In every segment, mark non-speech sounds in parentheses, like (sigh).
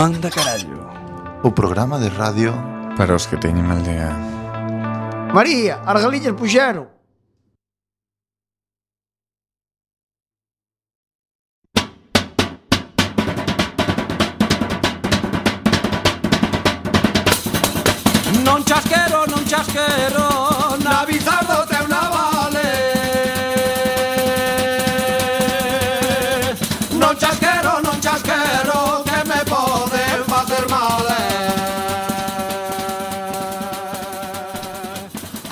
Manda carallo O programa de radio Para os que teñen aldea María, as galiñas puxeron. Non chasquero, non chasquero, na bizardo treu na vale. Non chasquero, non chasquero, que me poden facer mal. eh.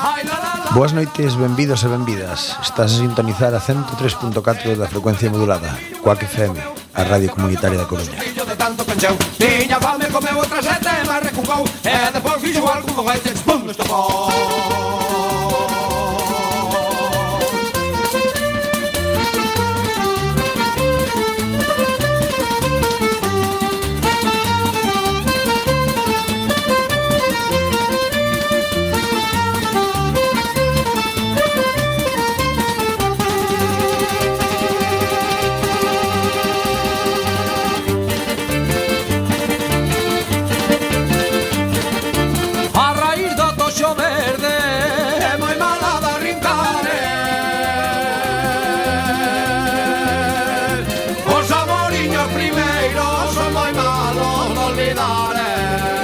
Ai, la, la, la. Boas noites, benvidos e benvidas Estás a sintonizar a 103.4 da frecuencia modulada Coac FM, a radio comunitaria da Coruña Fillo de tanto pencheu Tiña fame, comeu outra sete, mas recucou E depois fixo algún foguete, pum, estopou A raíz do toxo verde É moi mala da rincare eh. Os amoriños primeiros Son moi malos de olvidar eh.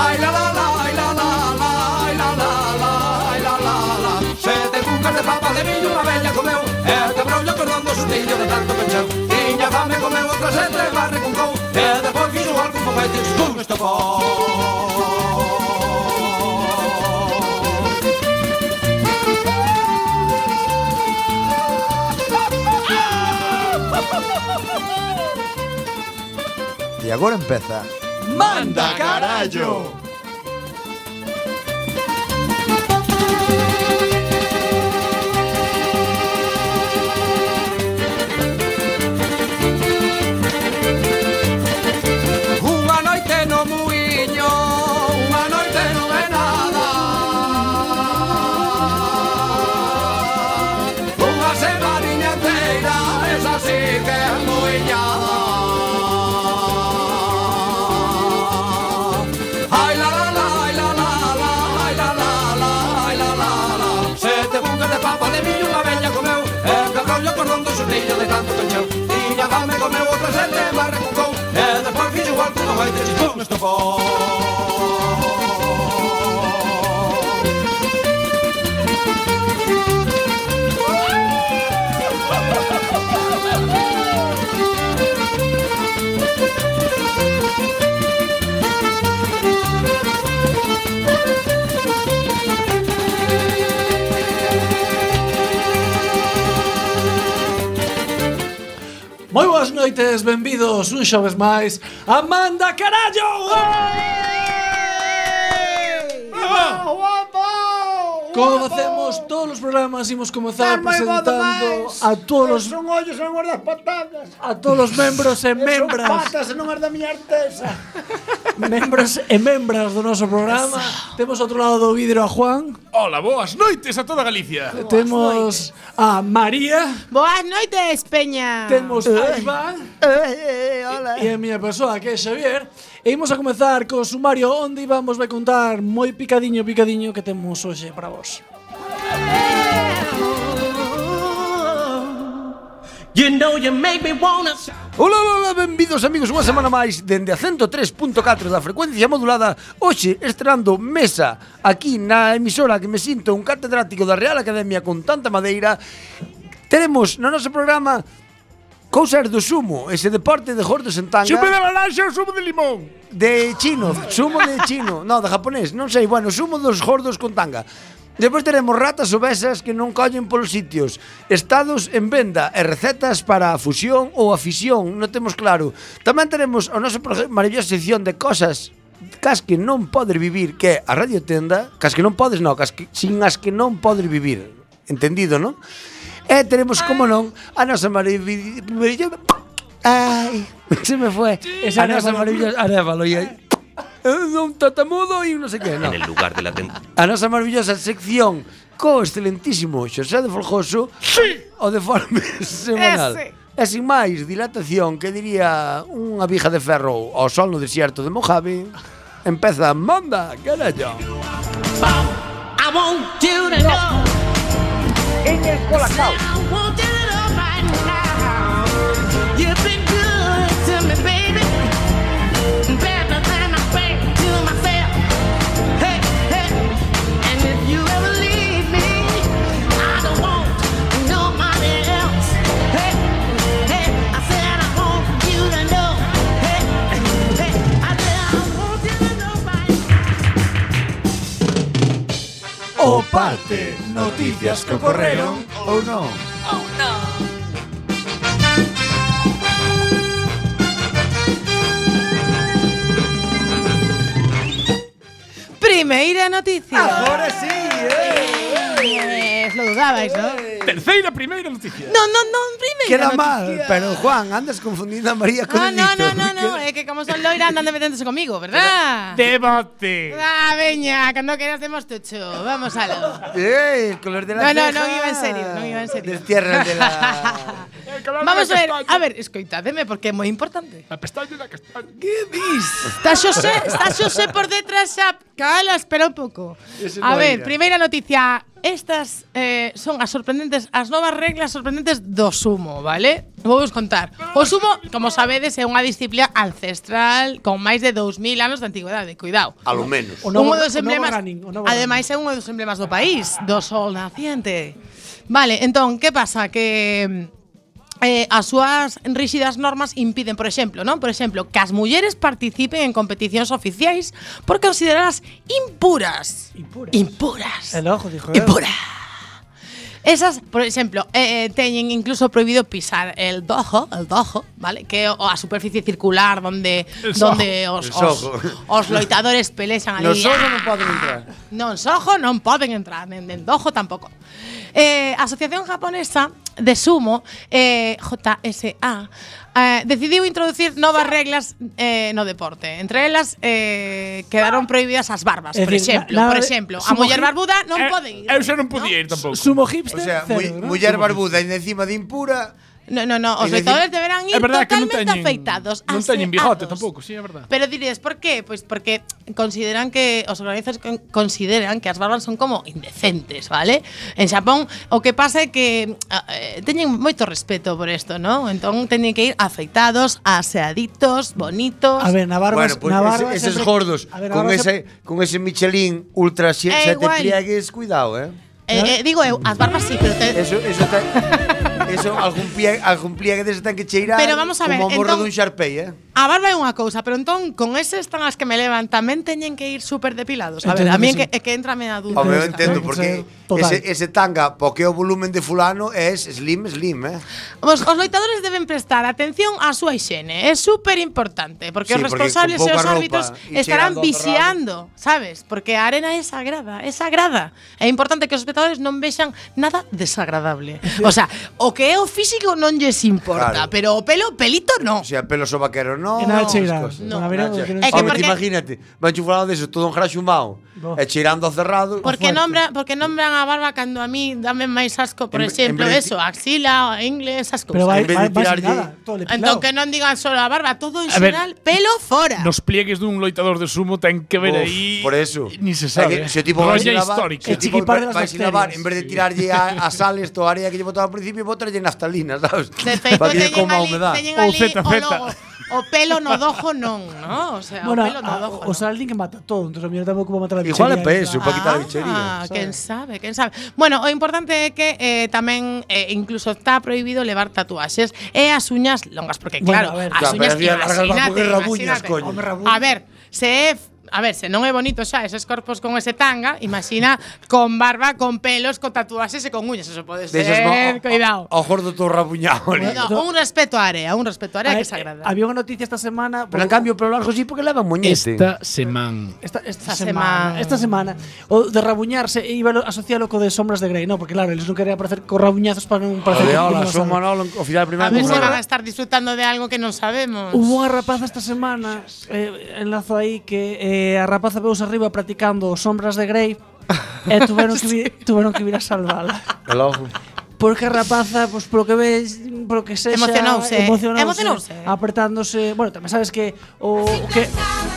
Ai la la la, ai la la la Ai la la la, ai la la la Sete cucas de papa de miño Unha veña comeu E te brollo cordando sustillo de tanto pencheu Tiña fame comeu outra sete Barre con cou E depois fixo algún foguete Pum, estopou E agora empeza Manda carallo. Unha noite no muiño, unha noite no é nada. Unha semaninha inteira, esa sí que é muiña. Ai la la la, ai la la la, ai la la la, ai la la la. Sete bucas de papa de millo unha veña comeu, e que rollo cordón do xurrillo de tanto cancheu. Tiña fame comeu outra sete, mas recucou, e despois fixo igual Eh, que unha baita de pum estopou. Moi boas noites, benvidos un xoves máis a Manda Carallo! Como facemos todos os programas, imos comezar presentando a todos os, Son ollos, son as das patadas. a todos os membros e Son membras patas, e non as da miña artesa. membros e membras do noso programa. Temos ao outro lado do vidro a Juan, Hola, boas noites a toda Galicia. temos a María, Boas noites, Peña. temos a Iván, Eh, eh, hola. E a miña persoa que é Xavier E imos a comezar co sumario onde vamos vai contar moi picadiño picadiño que temos hoxe para vos You know you make me wanna Ola, ola, ola, benvidos amigos unha semana máis Dende a 103.4 da frecuencia modulada Hoxe estrenando mesa Aquí na emisora que me sinto un catedrático da Real Academia Con tanta madeira Tenemos no noso programa Cousas do sumo, ese deporte de gordos en tanga Chupe de laranxa ou sumo de limón? De chino, sumo de chino, no, de japonés, non sei, bueno, sumo dos gordos con tanga. Despois teremos ratas obesas que non collen polos sitios, estados en venda e recetas para a fusión ou a fisión, non temos claro. Tamén teremos a nosa proje- maravillosa sección de cosas cas que non podes vivir, que é a radio tenda, cas que non podes, non, cas que, sin as que non podes vivir. Entendido, non? E teremos, como non, a nosa maravillosa... Ai, se me foi. Esa a nosa anévalo. maravillosa... Anévalo, e aí. Eh, un tatamudo e un non sei que, non. en el lugar de la tentación. A nosa maravillosa sección co excelentísimo Xosé de Folgoso sí. o de forma (laughs) semanal. Ese. E sin máis dilatación que diría unha vija de ferro ao sol no desierto de Mojave, empeza Manda, carallo. I want you to know. I want you to know right now. You've been good to me, baby. Better than I've been to myself. Hey, hey. And if you ever leave me, I don't want nobody else. Hey, hey. I said I want you to know. Hey, hey. I said I want you to know right O parte, noticias que ocorreron ou non. Primeira noticia. Agora sí, eh. Eh, lo dudabais, non? Terceira primeira noticia. Non, non, non, primeira Queda noticia. mal, pero Juan, andas confundindo a María con Ah, el no, no, dito. no, no, é que como son loira andan de meténdose comigo, verdad? Debate. Ah, veña, cando queras demos tucho. Vamos aló. Eh, el color de No, la no, ceja. non iba en serio, non iba en serio. Eh, Destierra el de (laughs) la... Vamos a ver, a ver, escoitademe porque é moi importante. A pestaña da castaña. Está Xosé, está Xosé por detrás xa. Cala, espera un pouco. A ver, primeira noticia. Estas eh, son as sorprendentes, as novas reglas sorprendentes do sumo, vale? Vou vos contar. O sumo, como sabedes, é unha disciplina ancestral con máis de 2000 anos de antigüedade. Cuidado. A lo menos. O novo- un o dos novo emblemas, running, o novo ademais é un dos emblemas do país, do sol naciente. Vale, entón, que pasa? Que mm, eh, as súas ríxidas normas impiden, por exemplo, non? Por exemplo, que as mulleres participen en competicións oficiais por consideradas impuras. Impuras. Impuras. El ojo, dijo. él. Impura. Esas, por exemplo, eh, eh, teñen incluso prohibido pisar el dojo, el dojo, vale? Que é o a superficie circular donde El sojo. donde os, El os, sojo. os loitadores pelexan ali. Nos ojos non poden entrar. Non sojo non poden entrar, nen den dojo tampouco. Eh, a Asociación Japonesa de Sumo, eh, JSA, eh, decidiu introducir novas reglas eh, no deporte. Entre elas, eh, quedaron prohibidas as barbas, É por dicir, exemplo. nada Por de- exemplo, a sumo muller hip- barbuda non Eh, pode ir. Eu xa non podía ir tampouco. Sumo hipster. O sea, cero, mu- ¿verdad? muller barbuda e encima de impura, No, no, no, os Es decir, leitores deberán ir É verdad que non totalmente teñen afeitados, Non teñen bigote aseados. tampouco, si, é verdad. Pero diréis, por qué? Pois porque consideran que os organizadores con- consideran que as barbas son como indecentes, vale? En Xapón o que pasa é que ah, eh, teñen moito respeto por isto, non? Entón teñen que ir afeitados, aseaditos, bonitos. A ver, na barba, bueno, pues na barba ese- eses sempre- gordos A ver, na con barba ese con ese Michelin ultra si- É sete igual. pliegues, cuidado, eh. eh, eh, digo eu, as barbas sí, pero te, Eso eso ten, eso algún pie algún pliegue dese ten que cheirar. Pero vamos a ver, como o morro entón- dun Sharpei, eh. A barba é unha cousa, pero entón con eses tan as que me levan tamén teñen que ir super depilados. A ver, Entendo a mí que é que, é que entrame a dúbida. Home, eu Está entendo ben, porque total. ese, ese tanga, porque o volumen de fulano é slim, slim, eh. Os, os loitadores deben prestar atención á súa higiene. É super importante, porque Sí, os porque responsables con e os pouca árbitros roupa e estarán cheirando a vixiando, sabes? Porque a arena é sagrada, é sagrada. É importante que os espectadores non vexan nada (laughs) desagradable. O sea, o que é o físico non lles importa, Claro. pero o pelo, pelito non. O sea, pelo so vaquero, no. E nada esas cheirar. cosas. No, Bueno, a ver, Nada o que non É cheirar. Eh, que Home, te porque- imagínate, van chufalado deso todo un graxumao. Bo. E eh, cheirando a cerrado. Porque fuerte. nombra, porque nombran a barba cando a mí dame máis asco, por En- en exemplo, vez de- eso, axila, inglés, esas cousas. Pero vai, en vez vai, vai de sin tirarlle- nada, todo depilado. Entón que non digan solo a barba, todo en A ver, xeral, pelo fora. Nos pliegues dun loitador de sumo ten que ver Uf, aí. Por eso. Ni se É sabe. que Se o tipo vai Rolla sin lavar, histórica. se o El tipo chiquipar de las vai sin lavar, bacterias. en vez de tirarlle a, a sal esto, a área que lle botaba ao principio, botarlle naftalina, sabes? De feito, Para que lle teñen coma a ali, humedad. teñen Ou ali zeta, o, zeta. logo, o pelo no dojo non, no? O sea, Bueno, o pelo no a- dojo o sea, alguien que mata todo, entonces a mí tampoco va a matar a la Igual é bichería pa esta. eso, pa quitar a bichería. Ah, quen sabe, quen sabe. Bueno, o importante é que eh, tamén eh, incluso está prohibido levar tatuaxes e as uñas longas, porque Bueno, claro, a ver. as Claro, uñas pero as uñas largas van imagínate, porque rabuñas, imagínate. coño. Home, rabuñas. A ver, se é f- A ver, se non é bonito xa esos corpos con ese tanga, imagina con barba, con pelos, con tatuaxes e con uñas, eso pode ser, Deixas mo- eh, cuidado. O o gordo todo rabuñado. ¿eh? ali. No, un respeto á área, un respeto á A área que ver, se agrada. eh, Había una noticia esta semana. Pero en cambio, pelo largo sí, porque levan moñete. semana. Esta, esta, Esta semana, semana. Esta semana. O de rabuñarse e iba asociado co de sombras de Grey. No, porque claro, eles non querían aparecer co rabuñazos para non O parecer. de como hola, unos son raros". Manolo, ao final do A primeiro ver si programa. van a estar disfrutando de algo que no sabemos. Hubo unha rapaza esta semana, eh, enlazo aí, que eh, a rapaza veus arriba (laughs) practicando sombras de Grey e tuveron que, vi, tuveron que vir a salvala. Logo. Porque a rapaza, pois polo que ves, polo que sexa, Emocionouse, eh. emocionouse, Emocionouse. apretándose. Bueno, tamén sabes que o, o que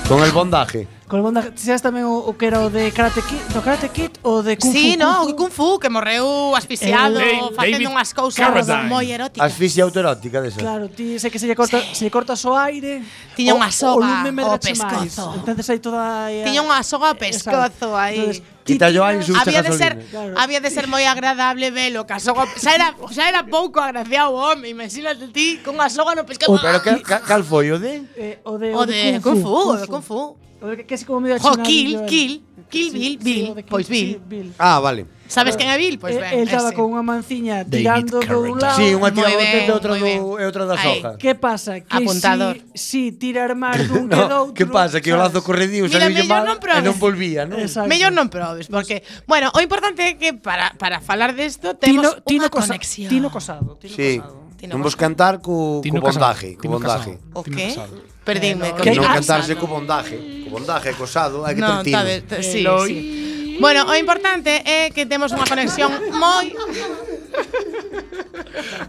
Con el bondaje. Con el bondaje, sabes tamén o, o que era o de Karate Kid, do Karate Kid o de Kung Sí, Fu no, o Kung Kung Fu? Fu que morreu asfixiado, eh, Eh, Dave- facendo David unhas cousas Carradine. moi eróticas. Asfixia autoerótica desa. Claro, ti sei que se lle corta, se lle cortas o aire. Tiña o- unha soga o lume ao merdache máis. pescozo. Entonces aí toda aí, Tiña unha soga ao Exacto. pescozo aí. Entonces, ti Quita yo aí tiras- su había de ser gasolina. Claro. había de ser moi agradable velo que a soga xa era xa era pouco agraciado o home, imagínate ti con a soga no pues, pescado. Pero que, ca, cal foi o de? eh, o de o de Kung Fu, o de Kung Fu. O de que, que é así como medio Jo, achinado, Kill, eh. Kill, Kill Sí, Bill, sí, Bill, o de Kill, pois sí, Bill. Bill. Ah, vale. Sabes quen é Bill? Pois Eh, ben, el estaba ese. con unha manciña tirando do un Ah, lado. Sí, Moi unha tira do ben, tete e outra moi do ben. e outra da Aí. soja. Que pasa? Que Apuntador. Si, si (laughs) tirar máis dun que No, doutro. que pasa? Que o sabes? lazo corrediu, Mira, saliu mellor mal non e probes. non volvía, non? Exacto. Mellor non probes, porque, bueno, o importante é que para, para falar desto temos unha Tino, tino, cosa, conexión. tino Cosado. Tino Sí. Cosado. Tino Vamos cantar co, co Tino Casado, bondaje, co Tino bondaje. Casado. O qué? Perdíme. no, con Que Tino non hay- Casado. cantarse co bondaje. Co bondaje, cosado, hai que No, ter tino. está ben, Eh, t- sí, sí. Bueno, o importante é que temos unha conexión moi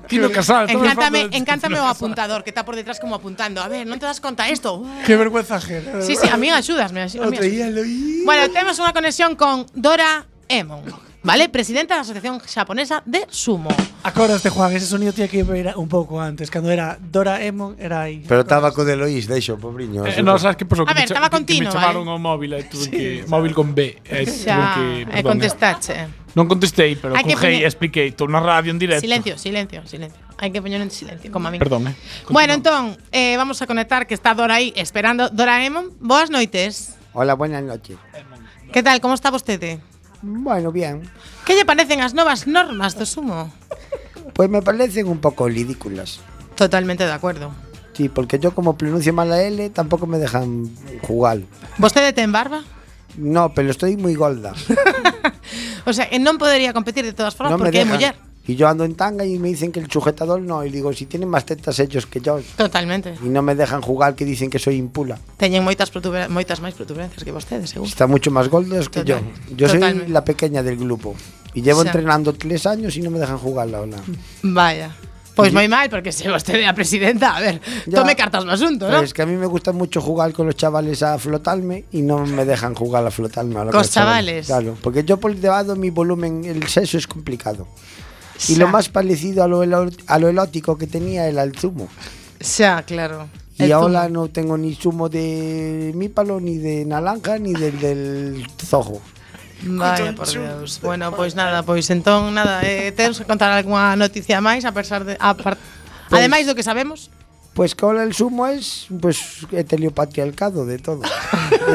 Tino Casal. todo Encántame, falta de- encántame o apuntador que está por detrás como apuntando. A ver, non te das conta isto? Qué vergüenza ajena. Sí, sí, a mí axúdasme, a mí axúdasme. Bueno, temos unha conexión con Dora Emon, vale? Presidenta da Asociación Xaponesa de Sumo. Acordaste, Juan, ese sonido tiene que ir un pouco antes, cando era Doraemon, era aí. Pero estaba co de Loís, deixo, pobriño. Eh, no, sabes que pasou? A ver, Que me cha- estaba que- con Tino, Que me chamaron vale. ao móvil, eh, tuve que, móvil con B. Eh, Xa, tuve que, e contestache. Non contestei, pero Hai que poñer- cogei e expliquei. Estou na radio en directo. Silencio, silencio, silencio. Hai que poñer en silencio, como a mí. Perdón, eh. Bueno, entón, eh, vamos a conectar que está Dora aí esperando. Doraemon, boas noites. Hola, buenas noches. Que tal, como está vostede? Bueno, bien. Que lle parecen as novas normas do sumo? Pues me parecen un poco ridículas. Totalmente de acordo. Sí, porque yo como pronuncio mal la L tampoco me dejan jugar. Vostede ten barba? No, pero estoy muy gorda. (laughs) O sea, que non podería competir de todas formas No me porque é dejan. muller. Y yo ando en tanga y me dicen que el sujetador no. Y digo, si tienen más tetas hechos que yo. Totalmente. Y no me dejan jugar que dicen que soy impula. Teñen moitas protuber- moitas máis protuberancias que vostede, seguro. Está mucho más gordos que yo. Total- Yo soy totalmente. la pequeña del grupo. Y llevo O sea. entrenando tres años y no me dejan jugar la ola. Vaya. Pois moi mal, porque se vostede é a presidenta, a ver, Ya. Pois tome cartas no asunto, non? Pero Pues es que a mí me gusta mucho jugar con los chavales a flotarme y no me dejan jugar a flotarme. ahora Cos los chavales. Claro, porque yo por debajo mi volumen, el sexo es complicado. Y lo más parecido a lo, elo- a lo elótico que tenía era el zumo. Xa, claro. Entón, Y El ahora zumo. no tengo ni zumo de mípalo, ni de naranja, ni del, del zojo. Vaya, por Deus. Bueno, pois nada, pois entón nada, eh, temos que contar algunha noticia máis a pesar de a par... Pois Ademais do que sabemos. Pues que ahora el zumo es pues heteropatriarcado (laughs) de todo.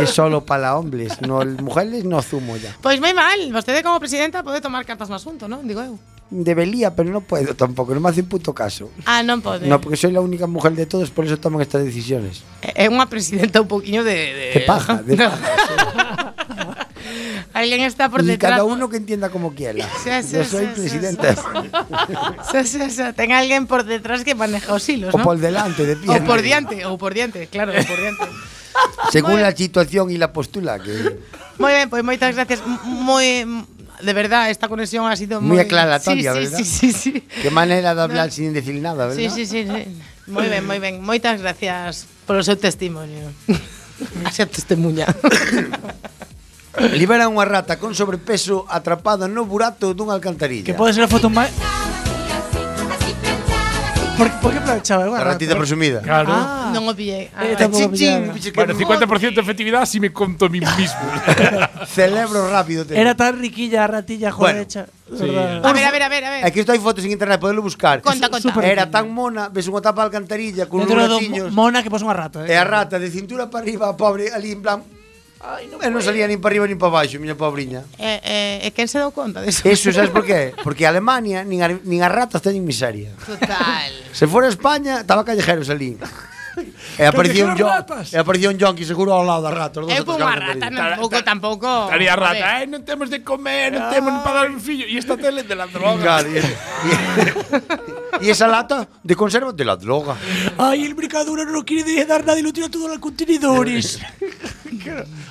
es solo para hombres, no mujeres no zumo ya. Pois moi mal, vostede como presidenta pode tomar cartas no asunto, non? Digo eu. Debería, pero no puedo tampoco, no me hace un puto caso. Ah, non pode. No, porque soy la única mujer de todos, por eso toman estas decisiones. É unha presidenta un poquinho de... De (laughs) paja, de No. paja. (laughs) Alguén está por y detrás. cada uno que entienda como quiera. Sí, sí, Yo sí, soy sí, presidente. (laughs) Sí, sí, sí. Ten alguén por detrás que maneja os hilos, O Pues ¿no? por delante, de pie. O por diante, ou por diante, claro, ou por diante. Según la situación y la postura. Que Moi ben, pois moitas gracias. M- Moi de verdad, esta conexión ha sido Muy moi sí, aclaratoria, sí, ¿verdad? Sí, sí, sí. qué manera de hablar sin decir nada, ¿verdad? Sí, sí, sí, sí. Moi ben, moi ben. Moitas gracias polo seu (laughs) testimonio. Xa testemunha. Libera unha rata con sobrepeso atrapada no burato dunha alcantarilla. Que pode ser a foto máis. Por, por que planchaba? A Unha ratita rata? presumida. Claro. Ah, Non o pillei. Ah, Eh, vale. tampouco pillaba. Bueno, 50% de efectividad si me conto a mí (laughs) mismo. (laughs) Celebro rápido. te- Era tan riquilla a ratilla Bueno, jodecha. sí. verdad. a ver, a ver, a ver, a ver. Aquí esto hai fotos en internet, podelo buscar. Conta, conta. Súper- Era tan mona, ves unha tapa de alcantarilla con uns Dentro do mo- ratiños Mona que pos unha rata, e eh. a rata de cintura para arriba, a pobre, ali en plan... Ai, non, e non salía nin para arriba nin para baixo, miña pobriña. Eh, eh, e quen se dou conta disso? Eso, sabes por qué? Porque a Alemania nin, a, nin as ratas teñen miseria. (laughs) Total. Se fora a España, estaba callejero salín. (laughs) E aparecía un John, e aparecía un John que seguro ao lado da rata. os dos Eu outros con unha cabros rata, perdidos. tampouco, tampouco. Oh, Estaría a ver. rata, eh, non temos de comer, non temos para dar un fillo. E esta tele de la droga. Claro, e, (laughs) e- e esa lata de conserva de la droga. Ay, el mercadona no lo quiere dar nadie, lo tira todo al contenedores.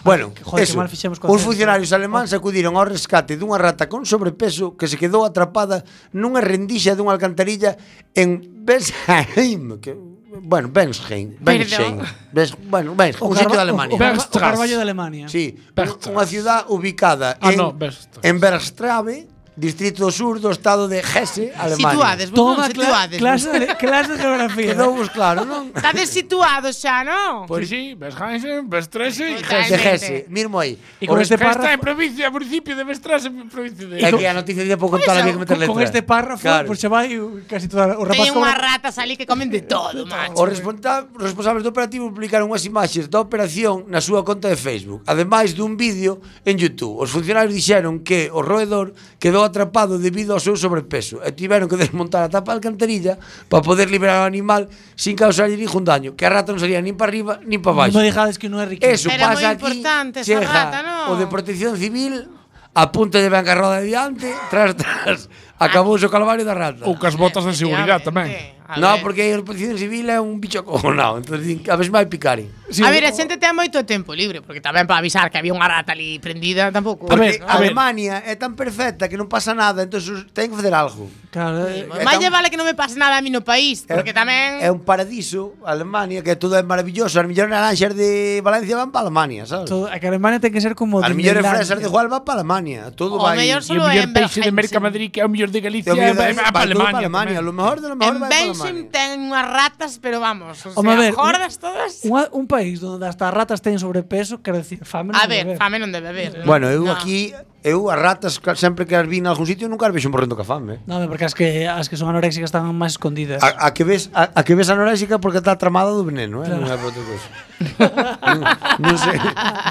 Bueno, Joder, que eso, mal fixemos Oh. coa os censura. funcionarios alemáns acudiron ao rescate dunha rata con sobrepeso que se quedou atrapada nunha rendixa dunha alcantarilla en Bensheim, que bueno, Bensheim, Bensheim, Bens, bueno, Bens, un sitio de Alemania. O, Carva- o Bergstrasse. Carballo de Alemania. Sí, Berchtesgaden. unha ciudad ubicada Ah, en, no, Berchtesgaden. en Bergstrave, distrito do sur do estado de Hesse, Alemania. Situades, vos non Toma cla situades. clase, (laughs) de, clase de geografía. Quedou vos claro, non? Estades situados xa, non? Pues sí, Besheim, Bestrese y Total. Hesse. De Hesse, mismo aí. Y con este Que está en párrafo, provincia, municipio de Bestrese, provincia de... É que a noticia de pouco tal había que meter con, letra. con este párrafo, Claro. pues se va y uh, casi toda o rapaz Teñen cobra- unhas ratas ali que comen de todo, macho. Os responsa responsables do operativo publicaron unhas imaxes da operación na súa conta de Facebook, ademais dun vídeo en YouTube. Os funcionarios dixeron que o roedor quedou atrapado debido ao seu sobrepeso e tiveron que desmontar a tapa da alcantarilla para poder liberar o animal sin causarlle ningún daño, que a rata non salía nin para arriba nin para baixo. No dejades que no es rico. Eso Era pasa moi aquí. importante esa chega rata, non? O de protección civil a punta de bancarrota diante, tras tras, acabouse o calvario da rata. Ou cas botas de seguridade tamén. Efectivamente. A ver. No, porque a protección civil é un bicho acojonado, entón din que a vez máis picari. Sí, a ver, a o- xente ten moito tempo libre, porque tamén para avisar que había unha rata ali prendida, tampouco. A ver, A Alemania é tan perfecta que non pasa nada, entón sus- ten que facer algo. Claro, eh, é Máis lle tan- vale que non me pase nada a mí no país, porque tamén... É un paradiso, Alemania, que todo é maravilloso. As millores naranxas de Valencia van para Alemania, sabes? todo, a que Alemania tiene que ser como. As millores Disneylandia. fresas de Juan van para Alemania. Todo O vai... mellor E o solo é mellor en peixe de Bergen, Merca sí. Madrid que é o mellor de Galicia O é mellor para vai para Alemania. Alemania. tamén. Lo mejor de lo mejor En vai para Benxim Alemania. ten unhas ratas, pero vamos, o sea, Home, a ver, un- jordas todas. Unha- Un, país donde hasta ratas tienen sobrepeso, quiero decir, fame. non A debe ver, haber. fame non debe haber. non? Bueno, eu No. aquí, eu as ratas ca- sempre que as vi en algún sitio nunca as vexo morrendo ca fame. eh. No, porque es que, as que son anoréxicas están más escondidas. A, a que ves a, a que ves anoréxica porque está tramada do veneno, eh? non é por outra cousa. non, non se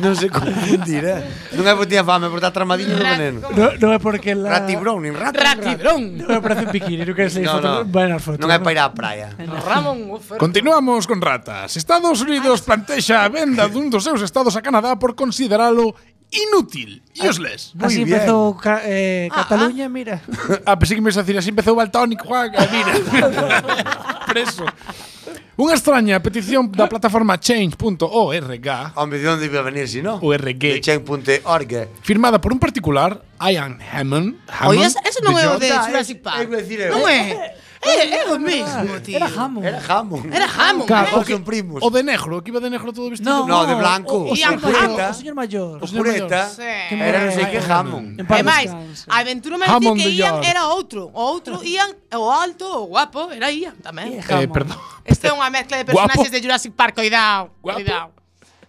non se confundir, eh? Non é porque tiña fame, porque está tramadinho do Rat- veneno. No, no é porque la. Rati Browning, rata. Ratibrón. No me parece un bikini, no quero (laughs) ser No, no, foto- Buenas fotos. non é para ir á praia. Ramón Ufer. Continuamos con ratas. Estados Unidos plantexa a venda dun dos seus estados a Canadá por consideralo inútil. E (laughs) Useless. Así Muy bien. empezó Ca- eh, Ah, Cataluña, mira. A Ah, pensei que me ibas a decir así empezou Baltónico, Juan, a mira. (laughs) Preso. Unha extraña petición da plataforma change.org Hombre, de onde iba a venir, si non? O RG. De Chen.org. firmada por un particular, Ian Hammond. Hammond Oye, ese- ese non de é o York. de Ah, é- Jurassic é Park. eh, iba a decir eu. Non é. É, é o mesmo, tío. Era Hammond. Era jamón. Era Hammond. Claro, Claro, o que- son primos. O de negro, que iba de negro todo vestido. No, No, de blanco. O, o Ian señor mayor, Hammond. o señor mayor. O señor pureta. Sí. Era non sei que jamón. En E paz máis, descanse. aventúrome a dicir Hammond que de Ian York. era outro. O outro Ian, o alto, o guapo, era Ian tamén. Eh, perdón. (laughs) Este é unha mezcla de personaxes Guapo. de Jurassic Park, cuidado, Guapo. cuidado.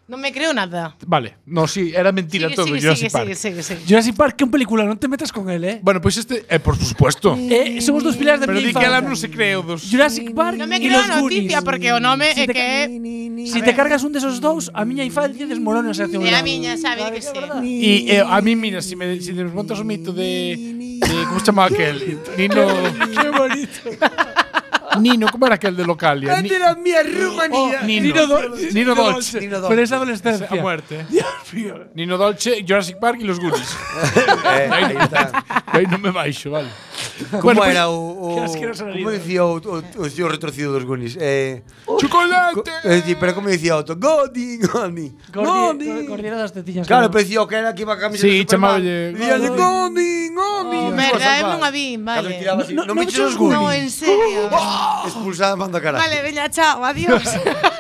Non me creo nada. Vale, no, sí, era mentira Sigue, todo. sigue, sigue, Jurassic Park. sigue, sigue, sigue. Jurassic Park, que un película, no te metas con él, eh. Bueno, pues este, eh, por supuesto. Eh, somos dos pilares de Pero mi di que infancia. ela non se cree o dos. Jurassic Park Non me y creo los a noticia Goonies. porque o nome Si é te que é Si te cargas un desos dous, a miña infancia desmorona esa acción. É a miña, sabe de que sí. Y eh, a mí, mira, si me, si desmontas un mito de, de. ¿Cómo se llamaba aquel? Nino. Qué bonito. Nino, ¿cómo era aquel de Localia? Ni- Era mía Oh, Rumanía. Nino, Dolce. Nino Dolce. Nino Pero es Dolce. A adolescencia. muerte. Nino Dolce, Jurassic Park y los Goonies. Eh, aí está. Aí non me baixo, vale. Como pues, era o, o que asqueroso era Como Nino. dicía o, o, o tío retrocido dos Goonies? Eh, co- ¡Chocolate! eh, sí, pero como dicía outro, Godin, Godin. Gordi- Gordiera das tetiñas. Claro, pero dicía o que era que iba a camiseta Sí, de Superman. chamáballe, Dicíalle, Godin. Godin, Godin. Oh, Merda, eu Salvar. non a vin, Cando vale. tiraba así, No, Non me no, eches os no, No, Goonies. en (laughs) serio. Expulsada manda cara. Vale, veña, chao, (laughs) adiós.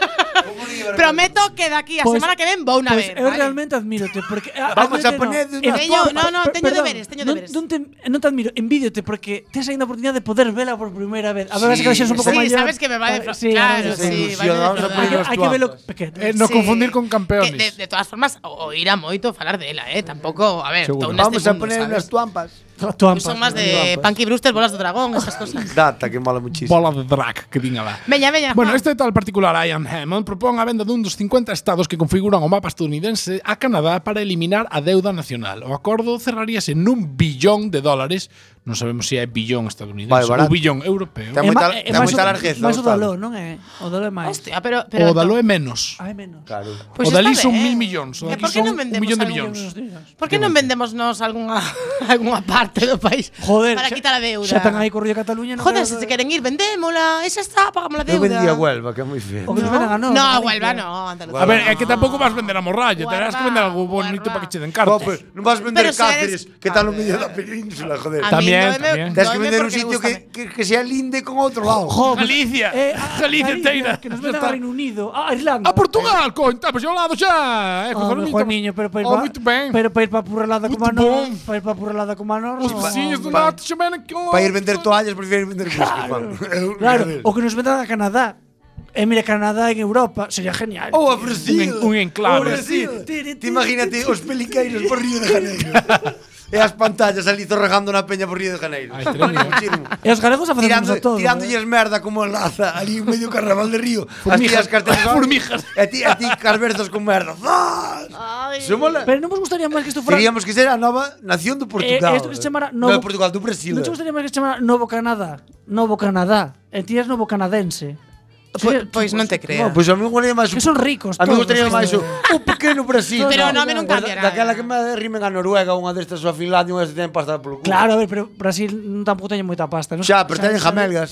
(laughs) Prometo que de aquí a Pues- semana que ven vou na Pues ver, eu vale? realmente admírote porque Vamos a poner de Teño- no, no, teño deberes, teño deberes. Non, non, te, non te admiro, envidiote porque tes aínda a oportunidade de poder vela por primeira vez. A ver, sí, que deixes un pouco sí, maior. sabes que me va a defra- Sí, claro, ahora sí, sí. ilusión, vale, vamos vale. a Hai poner que, os hai que velo tuapas. pequeno. (laughs) Eh, no Sí. confundir con campeones. Que de, de todas formas, o- oír a moito falar dela, eh? Tampouco, a ver, Seguro. todo Vamos neste a mundo, poner ¿sabes? unas pues. tuampas. Eu son máis de Punky Brewster, bolas do dragón, esas cosas. (laughs) Data, que mola muchísimo. Bola de drag, que din alá. Veña, veña. Bueno, Juan. este tal particular Ian Hammond eh, propón a venda dun dos 50 estados que configuran o mapa estadounidense a Canadá para eliminar a deuda nacional. O acordo cerraríase nun billón de dólares non sabemos se é billón estadounidense Vai, ou barato. billón europeo. eh, Ten É moita- ma- é ten máis moita o- largueza, máis o Gustavo. Daló, non é? O dalo é máis. Hostia, pero, pero O Daló é menos. Ai, menos. Claro. Pois o Dalí está son ben. mil millóns. O E daqui por que son non un vendemos millón de algo millóns. Por que non vendemos nós algunha, algunha parte do país Joder, para xa- quitar a deuda? Xa tan aí corrido a Cataluña. non Joder, quero- se se queren ir, vendémola, esa está, pagamos a Eu deuda. vendía Huelva, que é moi feo. O que nos vendan a nós, no, joder, Huelva que- no, Andalucía. A ver, é que tampouco vas vender a morralla, Guarda, terás que vender algo bonito guarda. para que che den Oh, cartas. pues, non vas vender Pero se Cáceres, eres- que está no A medio da península, joder. A mí no me- También, también. Tens no que me vender un porque sitio que, gústame. que, que sea linde con outro lado. Galicia, (laughs) Eh, a- a Galicia Galicia, inteira. Que nos Ya vendan a está. Reino Unido, Ah, a A Irlanda. Portugal, coño, está, pois ao lado xa. É, Ah, cojones, mejor estamos- niño, pero para ir Oh, pa- muito ben. Pero para ir para Purralada Muito como a bom. Nor, para ir para Purralada como a Nor, Os no, vizinhos do hombre. norte chaman aquí. Para ir vender toallas, prefiero ir vender whisky, Juan. (laughs) Claro, o que nos vendan a Canadá. Eh, mira, Canadá en Europa sería genial. Ou Oh, a Brasil. Un- un enclave. Ou a Brasil. Ti imagínate os peliqueiros por Río de Janeiro. (laughs) e as pantallas ali zorregando na peña por Río de Janeiro. Ai, tremendo. Chirmo. E os galegos a facernos Tirando, a todos. tirándolles merda como a laza ali en medio carnaval de (laughs) río. As tías cartelas Formijas. E ti, e ti carberzas con merda. Ay. Sumola. Pero non vos gustaría máis que isto fuera Diríamos que será a nova nación do Portugal. Eh, isto que se chamara No, novo- de Portugal, do Brasil. Non te gustaría máis que se chamara Novo Canadá? Novo Canadá. E ti eres Novo Canadense. Pois- pois non te creo. No, pois a mí me gustaría máis... Que son ricos A mí todos, gustaría que máis o, son- o pequeno Brasil. Pero o nome non cambiará. Daquela que me rimen a Noruega, unha destas a Finlandia, unha destas ten pasta polo culo. Claro, a ver, pero Brasil non tampouco teñe moita pasta. Non? Xa, pero teñen Xa- xa- jamelgas.